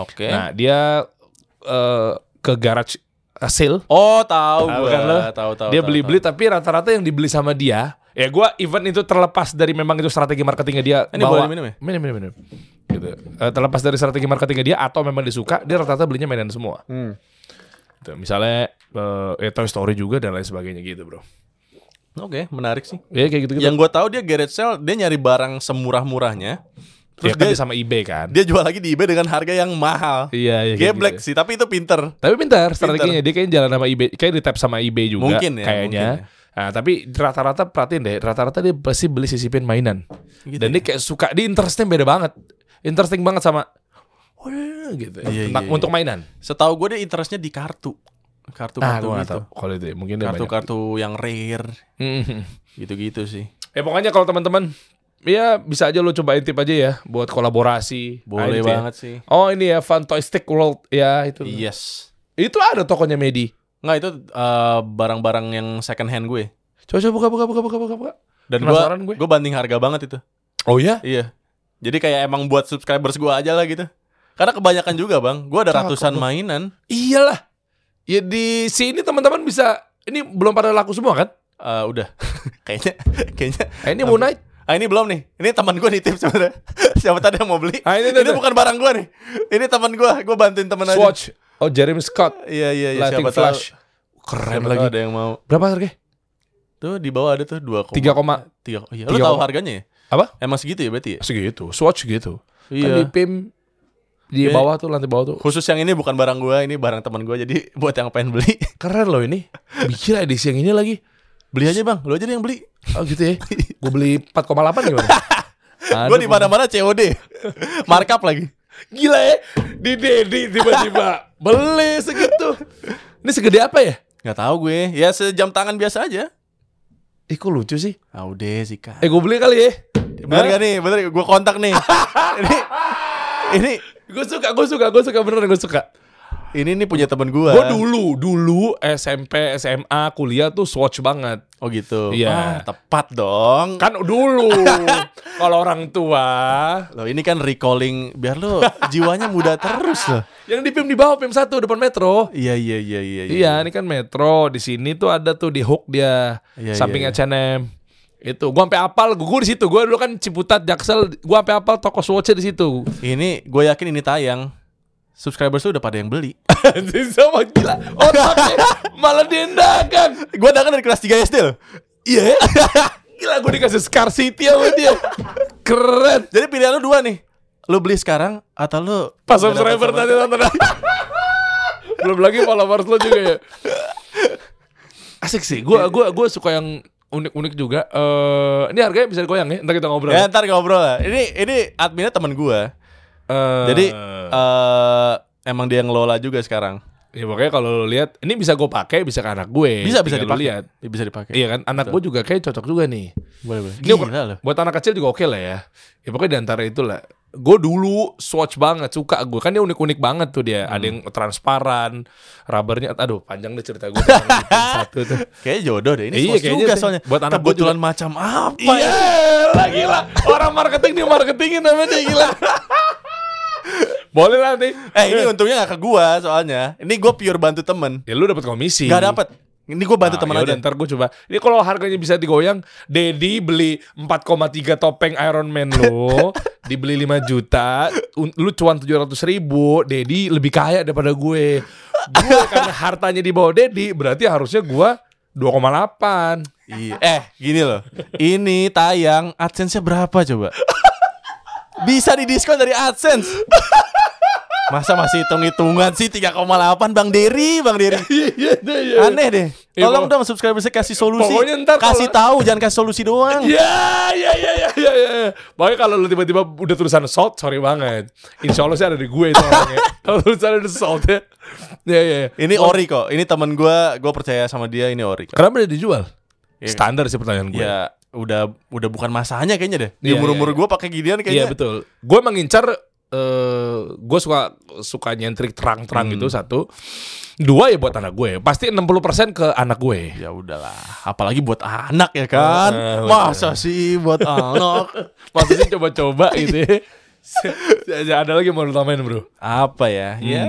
Speaker 1: oke
Speaker 2: Nah, dia eh, ke garage eh, sale
Speaker 1: oh tahu
Speaker 2: Tahu
Speaker 1: gue
Speaker 2: kan lo?
Speaker 1: tahu tahu
Speaker 2: dia
Speaker 1: tahu,
Speaker 2: beli-beli
Speaker 1: tahu.
Speaker 2: tapi rata-rata yang dibeli sama dia ya gua event itu terlepas dari memang itu strategi marketingnya dia
Speaker 1: Ini boleh
Speaker 2: bawa
Speaker 1: diminum ya?
Speaker 2: minum minum minum. gitu Eh, terlepas dari strategi marketingnya dia atau memang disuka dia rata-rata belinya mainan semua
Speaker 1: Hmm.
Speaker 2: Gitu. misalnya eh, ya Toy Story juga dan lain sebagainya gitu bro
Speaker 1: oke menarik sih
Speaker 2: ya kayak gitu gitu
Speaker 1: yang gue tahu dia garage sale dia nyari barang semurah-murahnya terus
Speaker 2: ya, kan
Speaker 1: dia
Speaker 2: dia sama eBay kan
Speaker 1: dia jual lagi di eBay dengan harga yang mahal.
Speaker 2: iya iya kayak
Speaker 1: Geblek
Speaker 2: gitu.
Speaker 1: sih, tapi itu pinter.
Speaker 2: tapi pintar strateginya dia kayaknya jalan sama eBay kayak di tap sama eBay juga
Speaker 1: Mungkin ya,
Speaker 2: kayaknya
Speaker 1: mungkin
Speaker 2: Nah, tapi rata-rata perhatiin deh, rata-rata dia pasti beli sisipin mainan.
Speaker 1: Gitu
Speaker 2: Dan
Speaker 1: ya.
Speaker 2: dia kayak suka, dia interestnya beda banget. Interesting banget sama "Wah," gitu.
Speaker 1: Iya,
Speaker 2: Tentang-
Speaker 1: iya, iya.
Speaker 2: untuk mainan.
Speaker 1: Setahu gue dia interestnya di kartu,
Speaker 2: Nah,
Speaker 1: kartu-kartu
Speaker 2: gue
Speaker 1: gitu,
Speaker 2: Kalau itu ya, mungkin dia banyak.
Speaker 1: kartu-kartu yang rare,
Speaker 2: Mm-mm.
Speaker 1: gitu-gitu sih.
Speaker 2: hmm. Ya pokoknya kalau teman-teman ya bisa aja lo cobain tip aja ya buat kolaborasi.
Speaker 1: Boleh
Speaker 2: Nah, itu ya.
Speaker 1: banget Iya. sih.
Speaker 2: Oh, ini ya Fantastic World ya itu.
Speaker 1: Yes.
Speaker 2: Itu ada tokonya Medi.
Speaker 1: Nggak itu eh, barang-barang yang second hand gue.
Speaker 2: Coba coba buka buka buka buka buka buka.
Speaker 1: Dan gue,
Speaker 2: Penasaran gue.
Speaker 1: gue banting harga banget itu.
Speaker 2: Oh ya?
Speaker 1: Iya. Jadi kayak emang buat subscribers gue aja lah gitu. Karena kebanyakan juga bang, gue ada
Speaker 2: Cakep,
Speaker 1: ratusan
Speaker 2: Bang.
Speaker 1: mainan.
Speaker 2: Iyalah. Ya di sini teman-teman bisa ini belum pada laku semua kan?
Speaker 1: Eh, udah, (laughs) kayaknya, kayaknya
Speaker 2: Eh, ini Moon Knight.
Speaker 1: Ah ini belum nih. Ini teman gue nitip sebenarnya. (laughs) Siapa tadi yang mau beli?
Speaker 2: Ah, ini,
Speaker 1: ini,
Speaker 2: ini, ini.
Speaker 1: bukan barang gue nih. Ini teman gue. Gue bantuin teman aja.
Speaker 2: Swatch. Oh, Jeremy Scott.
Speaker 1: Iya iya iya.
Speaker 2: Lighting
Speaker 1: Siapa
Speaker 2: Flash.
Speaker 1: tahu?
Speaker 2: Keren
Speaker 1: Siapa
Speaker 2: lagi.
Speaker 1: tahu ada yang mau.
Speaker 2: Berapa harganya?
Speaker 1: Tuh di bawah ada tuh dua
Speaker 2: 3, koma-
Speaker 1: tiga. oh, Iya. Lu
Speaker 2: tiga
Speaker 1: tahu
Speaker 2: koma-
Speaker 1: harganya ya?
Speaker 2: apa?
Speaker 1: Emang segitu ya berarti? Ya?
Speaker 2: Segitu. Swatch gitu. Kan di
Speaker 1: Iya.
Speaker 2: PIM di
Speaker 1: Iya.
Speaker 2: bawah tuh lantai bawah tuh.
Speaker 1: Khusus yang ini bukan barang gue. Ini barang teman gue. Jadi (laughs) buat yang pengen beli,
Speaker 2: Keren loh ini. Bikin edisi yang ini lagi.
Speaker 1: beli aja bang. Lu aja deh yang beli.
Speaker 2: Oh gitu ya. Gue beli
Speaker 1: (laughs)
Speaker 2: 4,8 gimana?
Speaker 1: Gue di mana mana COD. (laughs) Markup lagi.
Speaker 2: Gila ya. Di Dedi tiba-tiba (laughs) beli segitu. Ini segede apa ya?
Speaker 1: Gak tahu gue. Ya sejam tangan biasa aja.
Speaker 2: Eh kok lucu sih?
Speaker 1: Ah udah sih Kak.
Speaker 2: Eh gue beli kali ya.
Speaker 1: Bener gak nih? Bener gue kontak
Speaker 2: (laughs)
Speaker 1: nih. ini ini
Speaker 2: Gue suka, gue suka, gue suka beneran gue suka.
Speaker 1: ini nih punya temen gue.
Speaker 2: Gue dulu, dulu SMP, SMA, kuliah tuh swatch banget.
Speaker 1: Oh gitu.
Speaker 2: Iya.
Speaker 1: Ah, tepat dong.
Speaker 2: Kan
Speaker 1: (laughs)
Speaker 2: dulu. Kalau orang tua,
Speaker 1: Loh, ini kan recalling biar (laughs) lu jiwanya muda terus loh.
Speaker 2: yang di PIM di bawah PIM 1 depan metro.
Speaker 1: Iya iya iya iya.
Speaker 2: Iya, ini kan metro. Di sini tuh ada tuh di hook dia
Speaker 1: Iya,
Speaker 2: samping
Speaker 1: iya,
Speaker 2: H&M. Itu gua sampai apal, gua, gua di situ. Gua dulu kan Ciputat, Jaksel, gua sampai apal toko Swatch di
Speaker 1: (laughs)
Speaker 2: situ.
Speaker 1: Ini gue yakin ini tayang. Subscribers lu udah pada yang (laughs) beli.
Speaker 2: Anjing, sama gila. Otaknya malah diendakan.
Speaker 1: gue udah kan dari kelas 3 SD loh. ya?
Speaker 2: Iya. gila gua dikasih scarcity sama dia. Keren.
Speaker 1: (laughs) Jadi pilihan lu dua nih. Lu beli sekarang atau lu
Speaker 2: Pas subscriber tadi nonton. (laughs) Iya. Belum lagi followers lo juga ya. Asik sih. Gua gua gua suka yang unik-unik juga. Eh, ini harganya bisa goyang ya. Ntar kita ngobrol.
Speaker 1: Ya ntar ngobrol lah. Ini ini adminnya temen gua.
Speaker 2: Eh,
Speaker 1: Jadi
Speaker 2: Ah.
Speaker 1: eh emang dia ngelola juga sekarang.
Speaker 2: ya pokoknya kalau lu lihat, ini bisa gue pakai, bisa ke anak gue.
Speaker 1: Bisa bisa
Speaker 2: Iya, Tinggal lu
Speaker 1: dipakai.
Speaker 2: lihat.
Speaker 1: Bisa dipakai.
Speaker 2: Iya kan, anak gue juga kayak cocok juga nih.
Speaker 1: Boleh boleh.
Speaker 2: Ini
Speaker 1: Gila loh.
Speaker 2: Buat anak kecil juga oke lah ya. Ya pokoknya diantara itulah. Gue dulu swatch banget, suka gue. Kan dia unik-unik banget tuh dia. Ada yang transparan, rubbernya. Aduh, panjang deh cerita gue. (laughs) satu tuh.
Speaker 1: Kayaknya jodoh deh ini
Speaker 2: Iya,
Speaker 1: iya,
Speaker 2: kayaknya
Speaker 1: juga
Speaker 2: tuh.
Speaker 1: soalnya.
Speaker 2: Buat anak gua
Speaker 1: kebetulan macam apa ya?
Speaker 2: Iya, gila. Orang marketing nih marketingin namanya gila. (laughs) Boleh lah nanti.
Speaker 1: Eh ini untungnya gak ke gua soalnya. Ini gua pure bantu temen.
Speaker 2: Ya lu dapat komisi.
Speaker 1: Gak dapet. Ini gua bantu
Speaker 2: Ah,
Speaker 1: temen
Speaker 2: yaudah,
Speaker 1: aja.
Speaker 2: Ntar gue coba. Ini kalau harganya bisa digoyang, Dedi beli 4,3 topeng Iron Man (laughs) lo, dibeli 5 juta, un- lu cuan 700 ribu, Dedi lebih kaya daripada gue. (laughs) Gue karena hartanya di bawah Dedi, berarti harusnya gue 2,8.
Speaker 1: Iya. Eh gini loh. Ini tayang adsense berapa
Speaker 2: (laughs)
Speaker 1: coba? Bisa didiskon dari AdSense. Masa masih hitung-hitungan sih 3,8 Bang Dery, Bang Dery. Aneh deh.
Speaker 2: Iya,
Speaker 1: Tolong dong
Speaker 2: pokok-
Speaker 1: subscriber saya kasih solusi.
Speaker 2: Pokoknya ntar kalau-
Speaker 1: kasih tahu jangan kasih solusi doang.
Speaker 2: Ya, ya, ya, ya, ya, ya. ya. Pokoknya kalau lu tiba-tiba udah tulisan salt, sorry banget. Insya Allah sih ada di gue itu (laughs) orangnya. Kalau tulisan ada salt ya. Ya, ya, ya.
Speaker 1: Ini ori kok. Ini temen gua, gua percaya sama dia ini ori kok.
Speaker 2: Kenapa dia dijual? Standar sih pertanyaan gue.
Speaker 1: Ya udah udah bukan masanya kayaknya deh. Di
Speaker 2: Iya,
Speaker 1: umur-umur
Speaker 2: iya,
Speaker 1: gua pakai ginian
Speaker 2: Iya
Speaker 1: kayaknya.
Speaker 2: betul. Gue mengincar eh gue suka suka nyentrik terang-terang gitu satu. Dua ya buat anak gue. Pasti 60% ke anak gue.
Speaker 1: Ya udahlah, apalagi buat anak ya kan.
Speaker 2: Eh,
Speaker 1: Masa sih buat (laughs) anak?
Speaker 2: Pasti sih (laughs) coba-coba gitu. ya. Se- se- ada lagi yang mau lu tambahin bro.
Speaker 1: Apa ya? Ya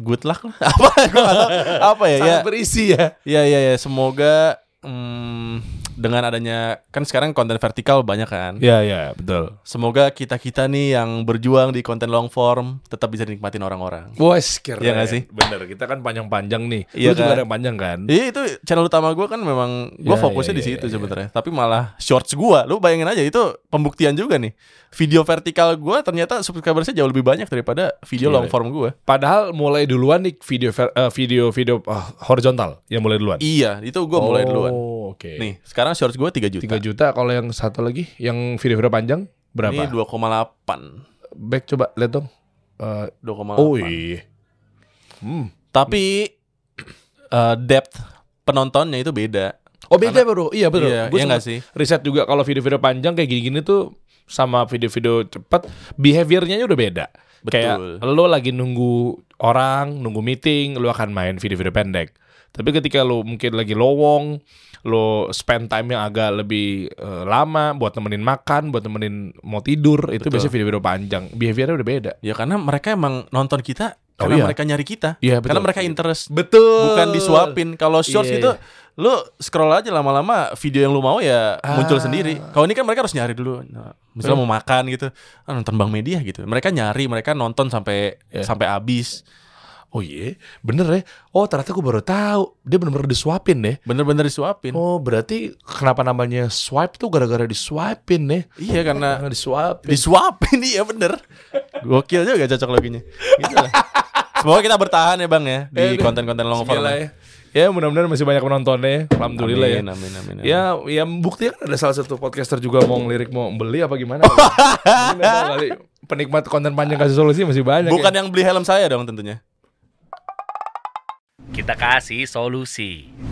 Speaker 1: good luck lah. (laughs) Apa gua nggak tahu. apa ya? Ya
Speaker 2: Sangat berisi ya.
Speaker 1: ya ya, ya. semoga mm, dengan adanya kan sekarang konten vertikal banyak kan.
Speaker 2: Iya iya betul.
Speaker 1: Semoga kita-kita nih yang berjuang di konten long form tetap bisa dinikmatin orang-orang.
Speaker 2: Wes keren.
Speaker 1: Iya nggak sih?
Speaker 2: Bener. Kita kan panjang-panjang nih.
Speaker 1: Iya
Speaker 2: Lu juga
Speaker 1: kan?
Speaker 2: ada yang panjang kan?
Speaker 1: Iya itu channel utama gue kan memang gue
Speaker 2: Ya,
Speaker 1: fokusnya
Speaker 2: ya,
Speaker 1: di
Speaker 2: ya,
Speaker 1: situ
Speaker 2: ya, ya.
Speaker 1: sebenarnya, tapi malah shorts gue. Lu bayangin aja itu pembuktian juga nih. Video vertikal gue ternyata subscriber saya jauh lebih banyak daripada video
Speaker 2: Gila. ya?
Speaker 1: long form gue.
Speaker 2: Padahal mulai duluan nih video ver- eh, video video ah, horizontal yang mulai duluan.
Speaker 1: Iya, itu gue mulai duluan.
Speaker 2: Oh, Oke.
Speaker 1: Nih sekarang shorts gue 3 juta.
Speaker 2: 3 juta kalau yang satu lagi yang video-video panjang berapa?
Speaker 1: Ini 2,8.
Speaker 2: back coba lihat dong. Eh,
Speaker 1: 2,8.
Speaker 2: oh iya. Hmm.
Speaker 1: Tapi eh, depth penontonnya itu beda.
Speaker 2: Oh beda bro, iya betul.
Speaker 1: Iya,
Speaker 2: Gua
Speaker 1: iya
Speaker 2: sempet
Speaker 1: nggak sih?
Speaker 2: Riset juga kalau video-video panjang kayak gini-gini tuh sama video-video cepat behaviornya udah beda. Kayak lo lagi nunggu orang, nunggu meeting, lo akan main video-video pendek. Tapi ketika lo mungkin lagi lowong, lo spend time yang agak lebih eh, lama buat nemenin makan, buat nemenin mau tidur, itu
Speaker 1: Betul.
Speaker 2: biasanya video-video panjang. Behaviornya udah beda.
Speaker 1: Ya karena mereka emang nonton kita
Speaker 2: Oh,
Speaker 1: karena
Speaker 2: iya.
Speaker 1: mereka nyari kita.
Speaker 2: Iya, betul.
Speaker 1: Karena mereka interest.
Speaker 2: Betul.
Speaker 1: bukan disuapin. Kalau shorts
Speaker 2: Iya,
Speaker 1: gitu,
Speaker 2: iya.
Speaker 1: lu scroll aja lama-lama video yang lu mau ya
Speaker 2: Ah.
Speaker 1: muncul sendiri. Kalau ini kan mereka harus nyari dulu. Nah, misalnya mau makan gitu, ah, nonton Bang Media gitu. Mereka nyari, mereka nonton sampai
Speaker 2: Iya.
Speaker 1: sampai habis.
Speaker 2: Oh iya, bener ya. Oh ternyata gue baru tahu dia bener-bener disuapin deh.
Speaker 1: Bener-bener disuapin.
Speaker 2: Oh berarti kenapa namanya swipe tuh gara-gara disuapin deh.
Speaker 1: Iya karena
Speaker 2: Karena disuapin.
Speaker 1: disuapin (laughs) iya bener. Gokil juga cocok loginya. Gitu lah. Semoga kita bertahan ya Bang ya di
Speaker 2: Aduh.
Speaker 1: konten-konten long form.
Speaker 2: Gila ya. Ya mudah-mudahan masih banyak penontonnya. Alhamdulillah
Speaker 1: Amin,
Speaker 2: ya.
Speaker 1: amin, amin, amin.
Speaker 2: Ya, ya buktinya kan ada salah satu podcaster juga mau ngelirik mau beli apa (laughs) gimana. Mungkin nggak tahu kali. Penikmat konten panjang kasih solusi masih banyak.
Speaker 1: Bukan
Speaker 2: ya.
Speaker 1: yang beli helm saya dong tentunya.
Speaker 3: Kita kasih solusi.